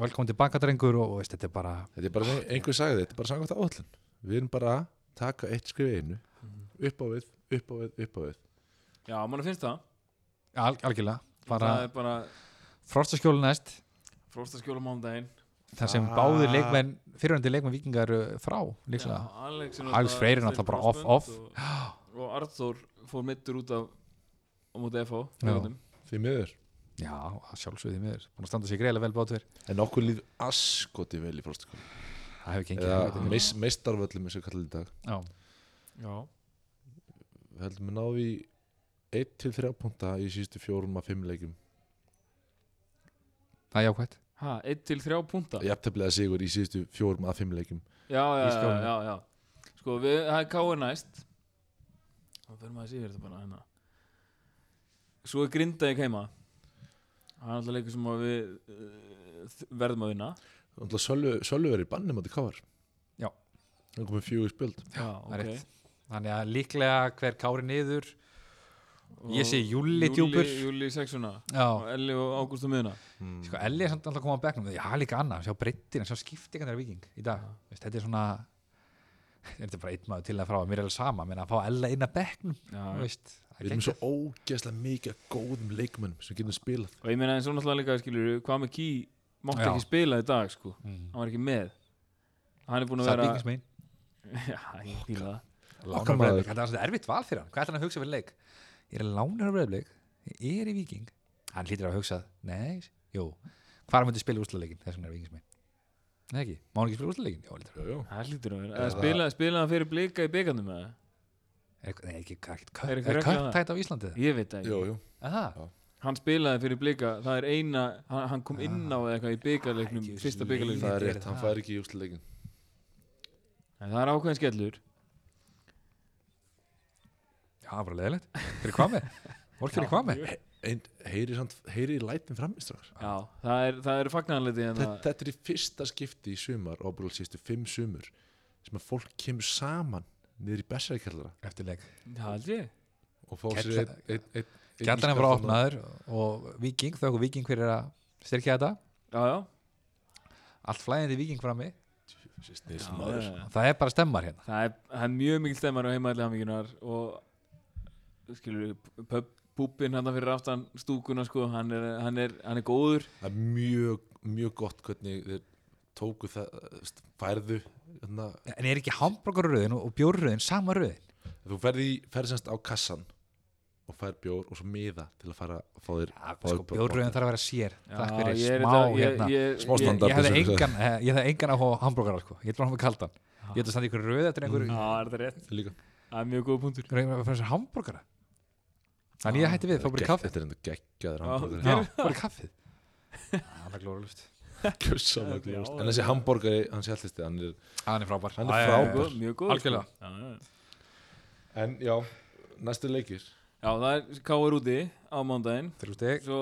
Speaker 3: velkomin tilbaka drengur og, og veist, þetta er bara
Speaker 5: þetta er bara, ein- einhver sagði þetta, þetta er bara samkvæmt áallun við erum bara að taka eitt skrif einu
Speaker 3: Mhm.
Speaker 5: upp á við, upp á við, upp á við
Speaker 2: já, mann finnst það
Speaker 3: al algjörlega, bara
Speaker 2: það er bara
Speaker 3: frostaskjólu næst
Speaker 2: fróstaskjóla mándaginn
Speaker 3: þar sem
Speaker 5: Ah.
Speaker 3: báðir leikmenn, fyrirhandi leikmenn vikingar eru frá, líklega
Speaker 2: Alex
Speaker 3: Alex Freyr er náttúrulega bara off, off.
Speaker 2: og, og Arthur fór mittur út af á móti FH
Speaker 3: Já.
Speaker 2: leikvöldum.
Speaker 5: því miður,
Speaker 3: Já, að sjálfsögðu því miður, búin að standa sér greiðlega vel bátur
Speaker 5: en okkur líð askoti vel í fróstakum
Speaker 3: Það hefur gengið
Speaker 5: eða
Speaker 3: helviti vel.
Speaker 5: meis, meistarvöllum eins og kallar í dag
Speaker 3: Já,
Speaker 5: við heldum að náðu í 1-3 punta í sístu fjórum að 5 leikum
Speaker 3: Það er jákvæmt
Speaker 2: ha, 1 til 3 punta já,
Speaker 5: jafntefnilega sigur í sístu fjórum að 5 leikum
Speaker 2: já,
Speaker 3: Í
Speaker 2: já,
Speaker 3: skjónum.
Speaker 2: já, já. sko, við, það er K.R. næst og fyrir maður sér þetta bara hérna. svo er Grindavík heima það er alltaf leikur sem að við uh, þ- verðum að vinna
Speaker 5: Náttúrulega Sölvi- Sölvi er í banni mátti káar
Speaker 3: Já.
Speaker 5: hann komið fjögur spjöld
Speaker 2: já,
Speaker 3: það er rétt. Þannig að líklega hver kári niður Ég sé Júlli djúpur.
Speaker 2: Júli 6-una
Speaker 3: Já,
Speaker 2: og Elli og Ágúst á miðuna
Speaker 5: Hmm.
Speaker 3: sko Elli er samt alltaf að koma á bekknum Já, líka annað, sjá breyttin, sjá skiptingan er viking í dag Veist, Þetta er svona Þetta er bara einn maður til að frá Mér er alveg sama, menn að fá Ella inn að bekknum
Speaker 2: Já.
Speaker 3: Veist, það er
Speaker 5: við erum svo
Speaker 3: geggjað.
Speaker 5: ógeðslega mikið af góðum leikmönnum sem getum spilað
Speaker 2: og ég meina eins og náttúrulega líka skilur hvað með Key mátti
Speaker 3: Já.
Speaker 2: ekki spila í dag sko
Speaker 3: Mhm.
Speaker 2: hann var ekki með hann er búin að
Speaker 3: Það er
Speaker 2: vera
Speaker 3: vikingsmein
Speaker 2: já, ég fíla það
Speaker 3: Lánar
Speaker 5: Okkar maður.
Speaker 3: breyðblik, þetta er svona erfitt val fyrir hann Hvað ætlar hann að hugsa fyrir leik? Ég er lánar breyðblik, ég er í viking Hann hlýtur að hugsa, nei, jú Hvar myndi spila úrslaleikin, þess vegna er vikingsmein Nei ekki, má hann ekki spila úrslaleikin? Jó, lítur
Speaker 5: já, já.
Speaker 2: það lítur að vera Eða spila, spila hann fyrir blika í byggandum eða
Speaker 3: Er, nei, ekki,
Speaker 2: Er
Speaker 3: hvað er ekkert
Speaker 2: ekki
Speaker 3: köpp- er
Speaker 2: regla
Speaker 3: köpp
Speaker 2: það?
Speaker 3: tætt á Íslandi? það?
Speaker 2: ég veit það
Speaker 5: Jú,
Speaker 2: ekki
Speaker 5: jú.
Speaker 3: Er það?
Speaker 2: hann spilaði fyrir blika það er eina hann, hann kom inn á eða eitthvað í byggarleiknum
Speaker 3: Ah. Æ,
Speaker 2: fyrsta
Speaker 3: Jesus,
Speaker 2: byggarleiknum
Speaker 5: það
Speaker 3: Lítið
Speaker 5: er
Speaker 3: er
Speaker 5: rétt, hann
Speaker 3: það.
Speaker 5: fær ekki í úrsluleikin
Speaker 2: það er ákveðin skellur
Speaker 3: Já, bara leðilegt Fyrir hvað með? Fólk fyrir hvað með?
Speaker 5: ein, heyri, samt, heyri lætin framistrar
Speaker 2: Já, það er, það hérna. er fagnanleiti en
Speaker 5: þetta, þetta er í fyrsta skipti í sumar og bara sístu fimm sumur sem að fólk kemur saman niður í Bessaríkjallara
Speaker 3: eftir leik
Speaker 2: það held ég
Speaker 5: og fá sér
Speaker 3: Kjalla-
Speaker 5: einn ein, ein, ein
Speaker 3: Gjallan er bara opnaður og Viking, þau okkur Viking fyrir að styrkja þetta
Speaker 2: Já, já,
Speaker 3: allt flæðandi Viking frammi
Speaker 5: opnað
Speaker 3: það er bara stemmar hérna
Speaker 2: það er, það er mjög mikil stemmar á heimaðlega hamingjunar og skilur, pöp, púpin hann hérna fyrir aftan stúkuna sko, hann er, hann er, hann er góður
Speaker 5: það er mjög, mjög gott hvernig þeir tóku það veist, færðu hérna,
Speaker 3: en er ekki hambúrgarröðin og bjórröðin sama röðin
Speaker 5: þú ferði, ferði semst á kassan og fær bjór og svo miða til að fara að fá þér fá þér
Speaker 3: sko, bjórröðin þarf að vera sér takk fyrir
Speaker 2: ég er
Speaker 3: smá
Speaker 2: þetta- ég-
Speaker 3: hérna
Speaker 2: ég-
Speaker 5: Smá
Speaker 2: ég-
Speaker 5: standard.
Speaker 3: ég hefði
Speaker 5: Sem-
Speaker 3: engan, eh, ég hefði engan á hambúrgarar sko. ég ætla hann með kaldan ég ætla að standa ykkur röð eftir einhver
Speaker 2: Já, er það rétt,
Speaker 5: líka
Speaker 2: það er mjög góð punktur
Speaker 3: fyrir hambúrgara þannig ég hætti við, fá bara í kaffið
Speaker 5: Þetta er enda geggjaður
Speaker 2: Já,
Speaker 5: hamborgari
Speaker 3: Já, fór í kaffið Það er glóralust
Speaker 5: Gjörsamlega
Speaker 2: Já,
Speaker 5: glúst.
Speaker 2: já.
Speaker 5: En þessi hamborgari, hans hjallisti, hann er
Speaker 3: Hann er frábær
Speaker 5: Hann er
Speaker 3: Já, já,
Speaker 5: frábær.
Speaker 2: Góð- Mjög góð
Speaker 3: Algjörlega.
Speaker 2: sko. já, já.
Speaker 5: En já, næstu leikir
Speaker 2: já, það er káur úti á mándaginn
Speaker 3: já. Þrjú steg
Speaker 2: Svo,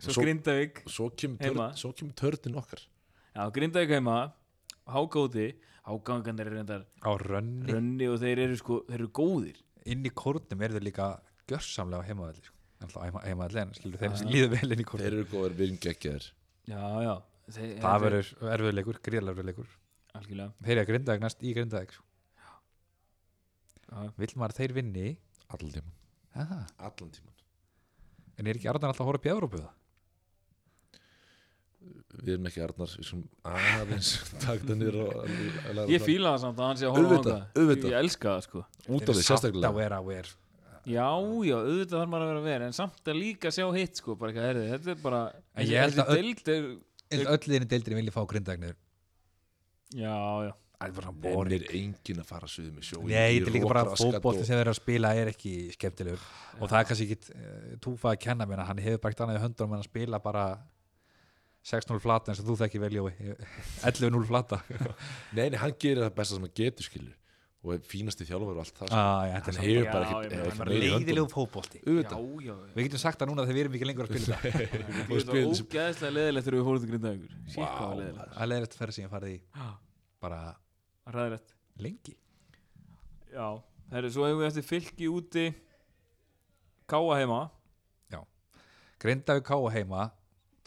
Speaker 2: svo,
Speaker 5: Svo-
Speaker 2: Grindavík
Speaker 5: Svo kemur,
Speaker 2: Heima.
Speaker 5: törn, svo kemur törnin okkar
Speaker 2: Já, Grindavík heima, Háka úti Hákangan er reyndar
Speaker 3: Á rönni
Speaker 2: rönni og þeir eru sko, þeir eru góðir
Speaker 3: Inn í kórnum eru þau líka Gjörsamlega á heimaðalli sko. Alltaf heimaðalli en skilur þeim sem líður vel inn í
Speaker 5: Þeir
Speaker 3: kórnum
Speaker 5: eru góðir, við erum geggjaðir
Speaker 2: Já, já þeir,
Speaker 3: Það verður erfiðleikur, gríðlega erfiðleikur
Speaker 2: Algjörlega
Speaker 3: Þeir eru að grindaðeg næst í grindaðeg sko.
Speaker 2: Já.
Speaker 3: Vill maður að þeir vinni
Speaker 5: Allan tíman
Speaker 3: Aha.
Speaker 5: Allan tíman
Speaker 3: En er ekki Arnar alltaf að horfa upp í Európu það?
Speaker 5: Við erum ekki Arnar, við skulum aðeins Takta nýr og að læra
Speaker 2: Ég
Speaker 5: það.
Speaker 2: fíla það samt að hann sé að horfa
Speaker 5: Auðvitað,
Speaker 2: þangað.
Speaker 5: auðvitað.
Speaker 2: Ég elska það sko
Speaker 5: Út af því sérstaklega
Speaker 3: Þá er að vera
Speaker 2: Já, já, auðvitað þarf maður að vera verið en samt að líka sjá hitt sko bara eitthvað herði, þetta er bara
Speaker 3: En ég held
Speaker 2: þessi
Speaker 3: að
Speaker 2: deild er
Speaker 3: En öll liðinni deildri vilja fá grindaðeg niður
Speaker 2: Já, já,
Speaker 3: Það er bara svona
Speaker 5: En er enginn að fara suðið með sjó
Speaker 3: Nei, þetta er líka bara fótbolti sem þeir eru að spila er ekki skemmtilegur og það er kannski ekki uh, túfa að kenna mér að hann hefur bara ekkert annað í höndunum en að spila bara 6-0 flata eins og þú þekkir vel Jói 11-0 flata
Speaker 5: Nei, nei, hann gerir það besta sem hann getur skilur Og er fínasti þjálfur og allt það sko.
Speaker 3: ah, ja,
Speaker 5: Hann
Speaker 3: Þetta
Speaker 5: hefur
Speaker 2: Já,
Speaker 5: bara
Speaker 2: ég meina, hann
Speaker 5: ekkert-
Speaker 2: er
Speaker 5: ekkert
Speaker 2: bara
Speaker 5: meira í höndunum.
Speaker 3: leiðilegu fótbolti
Speaker 2: já,
Speaker 5: Auðvitað,
Speaker 2: já, já.
Speaker 3: Við getum sagt það núna þegar við erum ekki lengur að spila þetta
Speaker 2: Ég veit það ógeðslega leðilegt þegar við fórum til Grindavíkur Sýtt hvað var leðilegt
Speaker 3: Það er leiðilegt að ferða síðan farið í bara
Speaker 2: Ræðilegt
Speaker 3: lengi
Speaker 2: Já, herri, svo hefum við eftir fylki úti Káa heima
Speaker 3: Grindavík Káa heima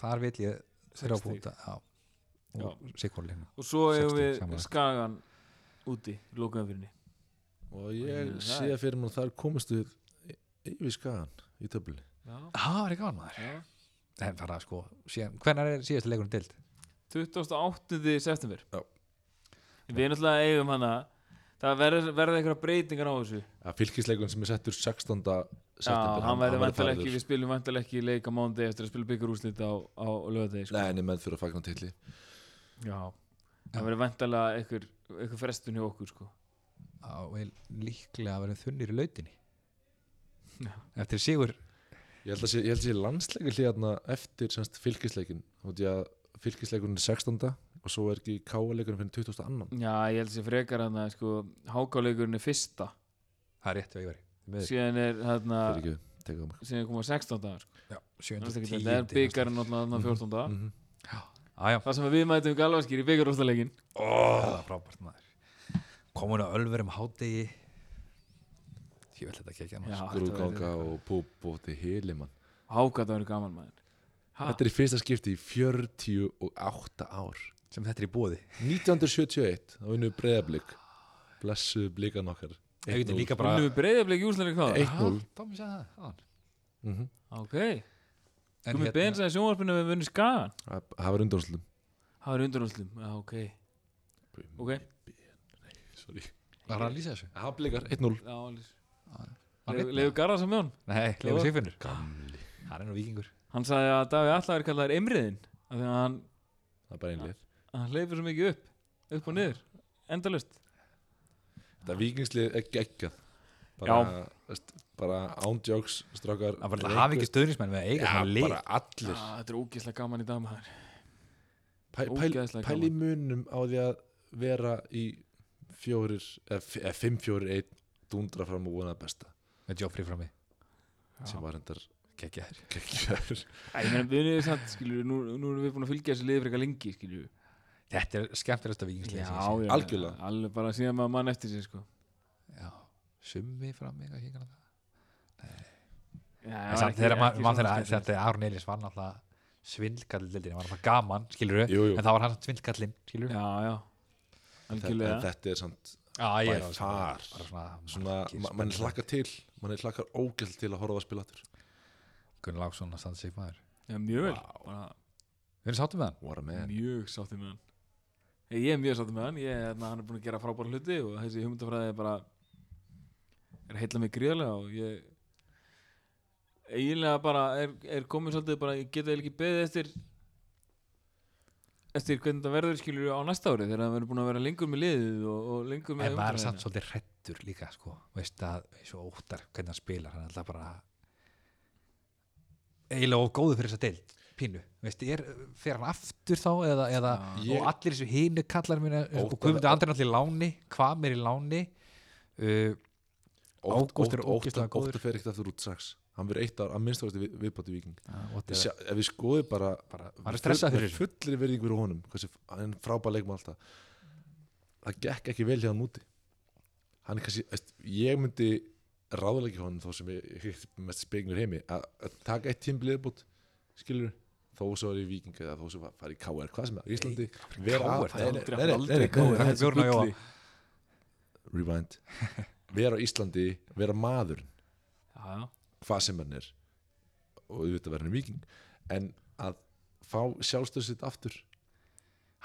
Speaker 3: þar vil ég þrjá
Speaker 2: Sex stig.
Speaker 3: púnta Já. og sikkorleina
Speaker 2: og svo
Speaker 3: Sex
Speaker 2: hefum
Speaker 3: stig
Speaker 2: við
Speaker 3: samanlagt.
Speaker 2: Skagan úti Lókaðum fyrir henni
Speaker 5: Og ég
Speaker 2: Það
Speaker 5: sé
Speaker 2: er-
Speaker 5: að fyrir mér að þar komist við Yfir skagan í töfli
Speaker 2: Já,
Speaker 3: Það var ekki gaman maður
Speaker 2: já
Speaker 3: En bara sko, síðan, hvernig er síðasta leikurinn deild?
Speaker 2: 28. september
Speaker 5: Já.
Speaker 2: Við náttúrulega eigum hana Það verður verða einhverja breytingar á þessu
Speaker 5: að fylgisleikun sem er settur 16.
Speaker 2: Já,
Speaker 5: september
Speaker 2: hann verður vantilega
Speaker 5: færður.
Speaker 2: ekki, við spilum vantilega ekki leik á mándi eftir að spila byggarúslita á, á lögadegi sko.
Speaker 5: Nei, henni menn fyrir að fagna til
Speaker 2: Já, það verður vantilega einhver, einhver frestun hjá okkur sko.
Speaker 3: á vel líklega að vera þunnir í lautinni eftir sigur
Speaker 5: Ég held að sé, ég held að sé landsleika hlýðarna eftir semst fylgisleikin Því að fylgisleikunum er 16. og svo er ekki káaleikunum fyrir 22.
Speaker 2: Já, ég held sér frekar hann að sko, hákáleikurinn er fyrsta
Speaker 3: það er rétt hjá Ívari Miður.
Speaker 2: síðan er hérna
Speaker 5: Fyrir ekki, teka það mig
Speaker 2: síðan er koma 16 dagar sko.
Speaker 3: Já,
Speaker 2: Þú
Speaker 3: 710
Speaker 2: veist ekki, þetta er byggarinn náttúrulega þarna 14 dagar
Speaker 5: Mhm.
Speaker 3: Á, já,
Speaker 2: Það sem við mætum galvaskir í byggarúslileikin
Speaker 3: það er frábært maður komin á ölverum hádegi ég vil þetta kekja maður
Speaker 5: Grúganga og púp og til helimann
Speaker 2: Hákat að vera gaman maður Ha?
Speaker 5: Þetta er í fyrsta skipti í 48 ár
Speaker 3: sem þetta er í bóði
Speaker 5: 1971, þá vinnum við breyðablík Blessuðu blíkan okkar
Speaker 3: ég veit
Speaker 5: 1-0.
Speaker 3: líka bara
Speaker 2: Vinnum við breyðablik í úsleik hvað?
Speaker 5: 1-0
Speaker 3: Tommi sagði það áðan.
Speaker 5: Mhm.
Speaker 2: Ok,
Speaker 3: En
Speaker 2: Gumi hérna... Benz að sjónvarpinu við vunni skagan
Speaker 5: Það það var undanslum
Speaker 2: Það er undanúslum, já ok Ok,
Speaker 5: Sorry
Speaker 3: var hann að lýsa þessu?
Speaker 5: Það blíkar 1-0
Speaker 2: já alveg
Speaker 3: Hann vitnaði.
Speaker 2: Leifur Garðars á mjón
Speaker 3: nei,
Speaker 2: Leifur
Speaker 3: Leifur Sigfinnur hann er nú vikingur
Speaker 2: Hann sagði að Davíð Alla er kallaðir Emriðin af því að hann,
Speaker 5: Það er bara einlega
Speaker 2: hann leifur svo mikið upp upp og niður, endalust
Speaker 5: Þetta vikingslið er geggjað
Speaker 2: Já.
Speaker 5: bara, veist, bara ándjóks strákar
Speaker 3: hann var
Speaker 5: Ef
Speaker 3: að hafa ekki stöðnismenn með að eiga svona
Speaker 5: einhver-
Speaker 3: lið
Speaker 5: bara allir
Speaker 2: ah, Þetta er ógeðslega gaman í dag maður
Speaker 5: pæl, pæl,
Speaker 2: ógeðslega
Speaker 5: pæl í munum á því að vera í fjórir eða f- eða fimm fjórir einn dundra fram og vona það besta
Speaker 3: með Joffrey frammi
Speaker 5: sem var hendar
Speaker 3: Gekkjaður
Speaker 5: Geggjaður.
Speaker 2: Æ, ég meina, við erum samt, skilur, nú, nú erum við búin að fylgja þessi liðið fyrir eitthvað lengi, skilur
Speaker 3: Þetta er skemmtilegsta vikingslið sem ég sé.
Speaker 2: já,
Speaker 5: Algjörlega.
Speaker 2: Alveg bara síðan maður mann eftir sér, sko
Speaker 3: já Summi fram mig að hinga
Speaker 2: já,
Speaker 3: En samt þegar ma- maður þegar að- þetta Aron Elís var náttúrulega svindkallildin, var náttúrulega gaman, skilur við
Speaker 5: Jú, jú.
Speaker 3: en það var hann svindkallinn, skilur við
Speaker 2: Já, já,
Speaker 5: Þetta,
Speaker 2: algjörlega
Speaker 5: þetta er samt
Speaker 3: Já,
Speaker 5: By
Speaker 3: ég var
Speaker 5: far.
Speaker 3: bara svona,
Speaker 5: svona, ma- mann er hlakka til mann er hlakkar ógælt til að horfa að spila aftur
Speaker 3: Gunn Láksson að standa sig maður
Speaker 2: Já, mjög vel, bara
Speaker 3: Við erum sáttum með hann
Speaker 5: What a man
Speaker 2: mjög sáttið með hann Ég- Ég er mjög sáttið með hann, ég, hérna, hann er búin að gera frábæra hluti og þessi hugmyndafræði er bara er að heilla mig gríðarlega og ég eiginlega bara er, er komin svolítið bara, ég geta eiginlega ekki beðið eftir eftir hvernig það verður skilur á næsta ári þegar það verður búin að vera lengur með liðið og, og lengur með
Speaker 3: En maður er
Speaker 2: hugmyndafræðina.
Speaker 3: samt svolítið hrettur líka sko. veist að eins og óttar hvernig hann spilar hann er alltaf bara eiginlega og góðu fyrir þessa deild pínu, veist, er, fer hann aftur þá eða, eða
Speaker 5: Ég-
Speaker 3: og allir þessu hínu kallar mínu og
Speaker 5: Óttar-
Speaker 3: Guðmundur Andri er allir í láni hvað mér í láni uh, Ágúst er ógeðslega góður.
Speaker 5: Óttu fer ekkert aftur út strax Hann verður eitt ár að minnstakosti við, viðbátti viking
Speaker 3: what the-
Speaker 5: Sjá, Ef við skoðum bara,
Speaker 3: Bara- maður er stressaður fyrir þessu.
Speaker 5: Fullir verðing fyrir honum hversu, Hann frábæð leikum alltaf Það gekk ekki vel hjá hann úti Hann er kannski veist, Ég myndi ráðleiki honum Þó sem ég, ég mest spekingur heimi Að að taka eitt tímbil viðbútt Skilur þó svo er í Víking eða þó svo fara í KR, hvað sem er, í Íslandi vera
Speaker 3: KR,
Speaker 5: að-
Speaker 3: það er
Speaker 5: nei,
Speaker 2: aldrei-
Speaker 5: nei, nei,
Speaker 2: aldrei
Speaker 5: nei, nei,
Speaker 2: KR.
Speaker 5: nei, nei,
Speaker 3: Þetta er Björn og Jóa.
Speaker 2: Bulli.
Speaker 5: rewind vera á Íslandi, vera maður
Speaker 2: Já, já.
Speaker 5: hvað sem hann er og auðvitað verður hann viking en að fá sjálfstöð sitt aftur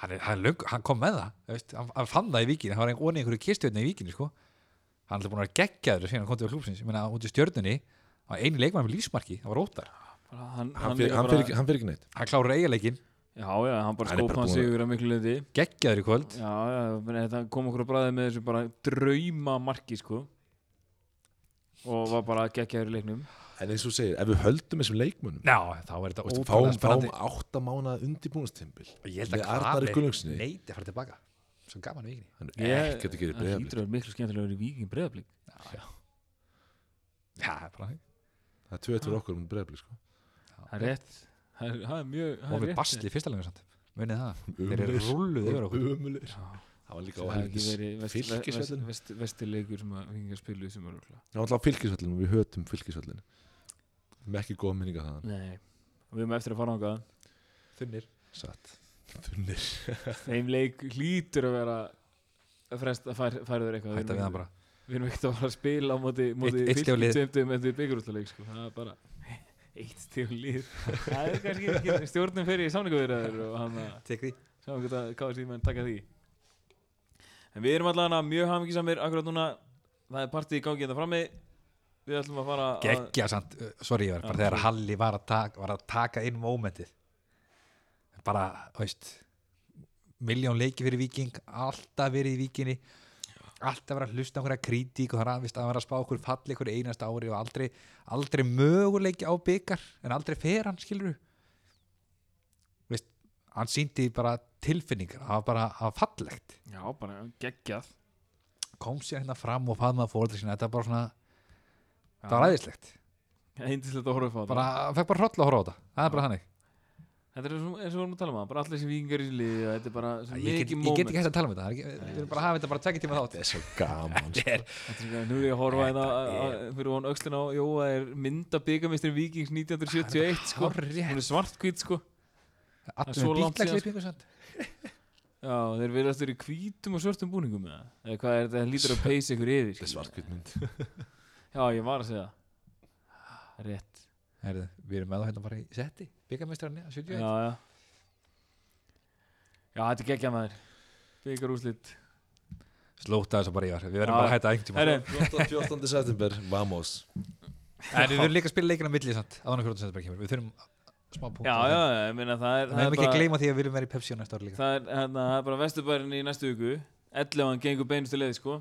Speaker 3: hann, er, hann, er löng, hann kom með það veist, hann, hann fann það í vikinu, hann var einhvern veginn einhverju kistjötni í vikinu sko. hann er alltaf búin að gegja þér síðan hann kom til klúpsins, ég meina út í stjörnunni hann var einu leikmann með lífsmarki, það var óttar
Speaker 2: Bara hann,
Speaker 5: hann, fyr,
Speaker 2: líka
Speaker 5: hann,
Speaker 2: bara-
Speaker 5: fyrir, ekki- hann fyrir ekki neitt
Speaker 3: hann klárar eiginleikin,
Speaker 2: Já, já, hann bara
Speaker 5: Hann er bara
Speaker 2: skópaði
Speaker 5: búinn að-
Speaker 2: sigur að miklu leiti
Speaker 3: gegja þér í kvöld
Speaker 2: Já, já, meni, þetta kom okkur að bræði með þessu bara drauma marki, sko og var bara geggjaður í leiknum
Speaker 5: en eins og þú segir, ef við höldum þessum leikmönnum
Speaker 3: Já, þá er þetta
Speaker 5: veist,
Speaker 3: ótrúlega
Speaker 5: fáum, fáum
Speaker 3: spennandi
Speaker 5: átta mánaða undirbúinastimbil
Speaker 3: Og Ég held að
Speaker 5: með Arnari
Speaker 3: Kvalir
Speaker 5: Gunnlöksinni
Speaker 3: neiti að fara tilbaka Svo gaman við ekki
Speaker 5: hann er ekkert að gera
Speaker 2: Það
Speaker 5: breyðablik
Speaker 2: hýtur að vera miklu skemmtilegur í Víking breyðablík
Speaker 3: Já, það er bara þannig.
Speaker 5: það er tveit fyrir okkur um breyðablik sko.
Speaker 2: Það er rétt Það er, það er mjög það
Speaker 3: Og
Speaker 2: er
Speaker 3: við
Speaker 2: rétt.
Speaker 3: basli í fyrsta lengur samt Munið það Þeir eru
Speaker 5: Ömurlegir.
Speaker 3: rulluð yfir okkur
Speaker 5: umulir það var líka
Speaker 2: Það hefði ekki verið
Speaker 5: áhengilis
Speaker 2: vest- vest-
Speaker 5: fylgisvöllin
Speaker 2: vest- vestileikur sem að Víkingar spiluðu sem eru
Speaker 5: það var alltaf fylgisvöllin og við hötum fylgisvöllin með ekki góða minninga þaðan
Speaker 2: Nei, við erum eftir að fara ángað
Speaker 3: Þunnir
Speaker 5: satt þunnir
Speaker 2: Þeim leik hlýtur að vera að fresta að færa þér eitthvað Við erum
Speaker 3: Hætta
Speaker 2: ekki-
Speaker 3: við það bara
Speaker 2: Við erum ekkert að fara að spila á móti, móti
Speaker 3: Eitt- eitt stig á lið.
Speaker 2: tveimtum eftir byggjurústaleik sko. það er bara eitt stíl líð það er kannski ekki stjórnum fyrir samninguðurðar og hann að
Speaker 3: Tekri
Speaker 2: sjá hvað það káði síðan menn taka því en við erum allavega mjög hafingisamir akkurat núna það er partí í gangi hérna frammi við ætlum að fara að
Speaker 3: Gekkja samt uh, Sorry, ég var
Speaker 2: Já,
Speaker 3: bara þegar
Speaker 2: sorry.
Speaker 3: Halli var að taka, var að taka inn mómentið Bara, veist Miljón leiki fyrir viking Alltaf verið í vikinni Alltaf verið að hlusta á einhverja kritík og það er að, veist, að vera að spá okkur falli einhverju einast ári og aldrei, aldrei möguleiki á byggar en aldrei fer hann, skilur veist, hann síndi bara tilfinningar, það var bara það var fallegt
Speaker 2: já bara geggjað
Speaker 3: kom sér hérna fram og faðmaði fóreldri sína þetta var bara svona, það var æðislegt
Speaker 2: eindislegt að horfa upp á
Speaker 3: bara,
Speaker 2: það
Speaker 3: hann fekk bara hroll að horfa á þetta það er bara þannig,
Speaker 2: þetta er eins og eins og við vorum að tala um það bara allir þessi vikingar í liði og þetta er bara svo mikið
Speaker 3: ég get, ég get
Speaker 2: moment
Speaker 3: ekki hægt að tala um þetta það er ekki- við erum bara að hafa þetta bara tvekki tíma þátt
Speaker 5: það er svo gaman sko.
Speaker 2: Þetta er svona, Nú er ég að horfa hérna á- á- fyrir von öxlin á Jóa er mynda byggamistrin Vikings 1971 sko
Speaker 3: Hárrétt.
Speaker 2: Hún er svartkvít sko er
Speaker 3: allir
Speaker 2: svo
Speaker 3: með
Speaker 2: langt síðan,
Speaker 3: bítlagsleipingu samt
Speaker 2: Já, þeir verið aftur í hvítum og svörtum búningum eða Eða hvað er þetta, það lítur að peysa ykkur yfir
Speaker 5: þetta er
Speaker 2: skilur.
Speaker 5: svartkvöldmynd
Speaker 2: Já, ég var að segja það. Rétt
Speaker 3: Herðu, við erum með það hérna bara í setti byggamestran,
Speaker 2: Já,
Speaker 3: 71
Speaker 2: já Já, þetta er geggja maður Byggar úrslit
Speaker 3: slóta þess að bara ég var, við
Speaker 2: Já.
Speaker 3: verðum bara að hætta einhvern tíma
Speaker 2: Herre,
Speaker 5: 14. september, vamos
Speaker 3: en við verðum líka að spila leikina á milli samt áðan að 14. september kemur, við þurfum smá punkt
Speaker 2: já, já, ég meina það er
Speaker 3: við
Speaker 2: það er
Speaker 3: erum ekki að
Speaker 2: bara-
Speaker 3: gleyma því að við erum verið í Pepsi á næsta ári líka
Speaker 2: það er, hérna, það er bara vesturbærin í næstu viku 11 gengur beinustu leið sko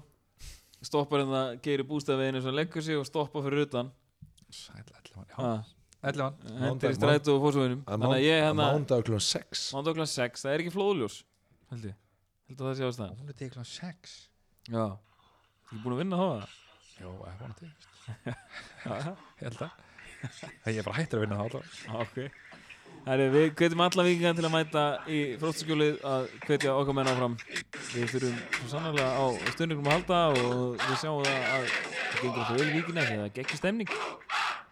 Speaker 2: stoppar hérna, gerir bústafeginu svo leggur sig og stoppar fyrir utan
Speaker 3: Sæll,
Speaker 2: Ha,
Speaker 3: 11
Speaker 2: Ah, hendir í
Speaker 5: Mánudag-
Speaker 2: strætu og fórsögunum
Speaker 5: að
Speaker 2: þannig að ég hérna
Speaker 5: mándag kl. 6
Speaker 2: mándagla 6, það er ekki flóðljós held ég, held að það sé ástæðan
Speaker 3: hún er til klokkan 6
Speaker 2: já, ekki búin að vinna þá það
Speaker 3: Jó, vonandi, veist.
Speaker 2: Já,
Speaker 3: ég held að ég er bara hættur að vinna það alltaf
Speaker 2: Ok Herri, við hvetjum alla vikingar til að mæta í fróstaskjólið að hvetja okkar menn áfram Við þurfum svo sannlega á stundingum að halda og við sjáum það að það gengur okkur öll vikina því að það geggjur stemning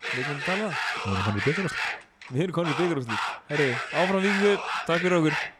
Speaker 2: Við erum að tala um það
Speaker 3: Nú erum við komin í byggjum
Speaker 2: Við erum konið í byggarúslið Herri, áfram vikingur, takk fyrir okkur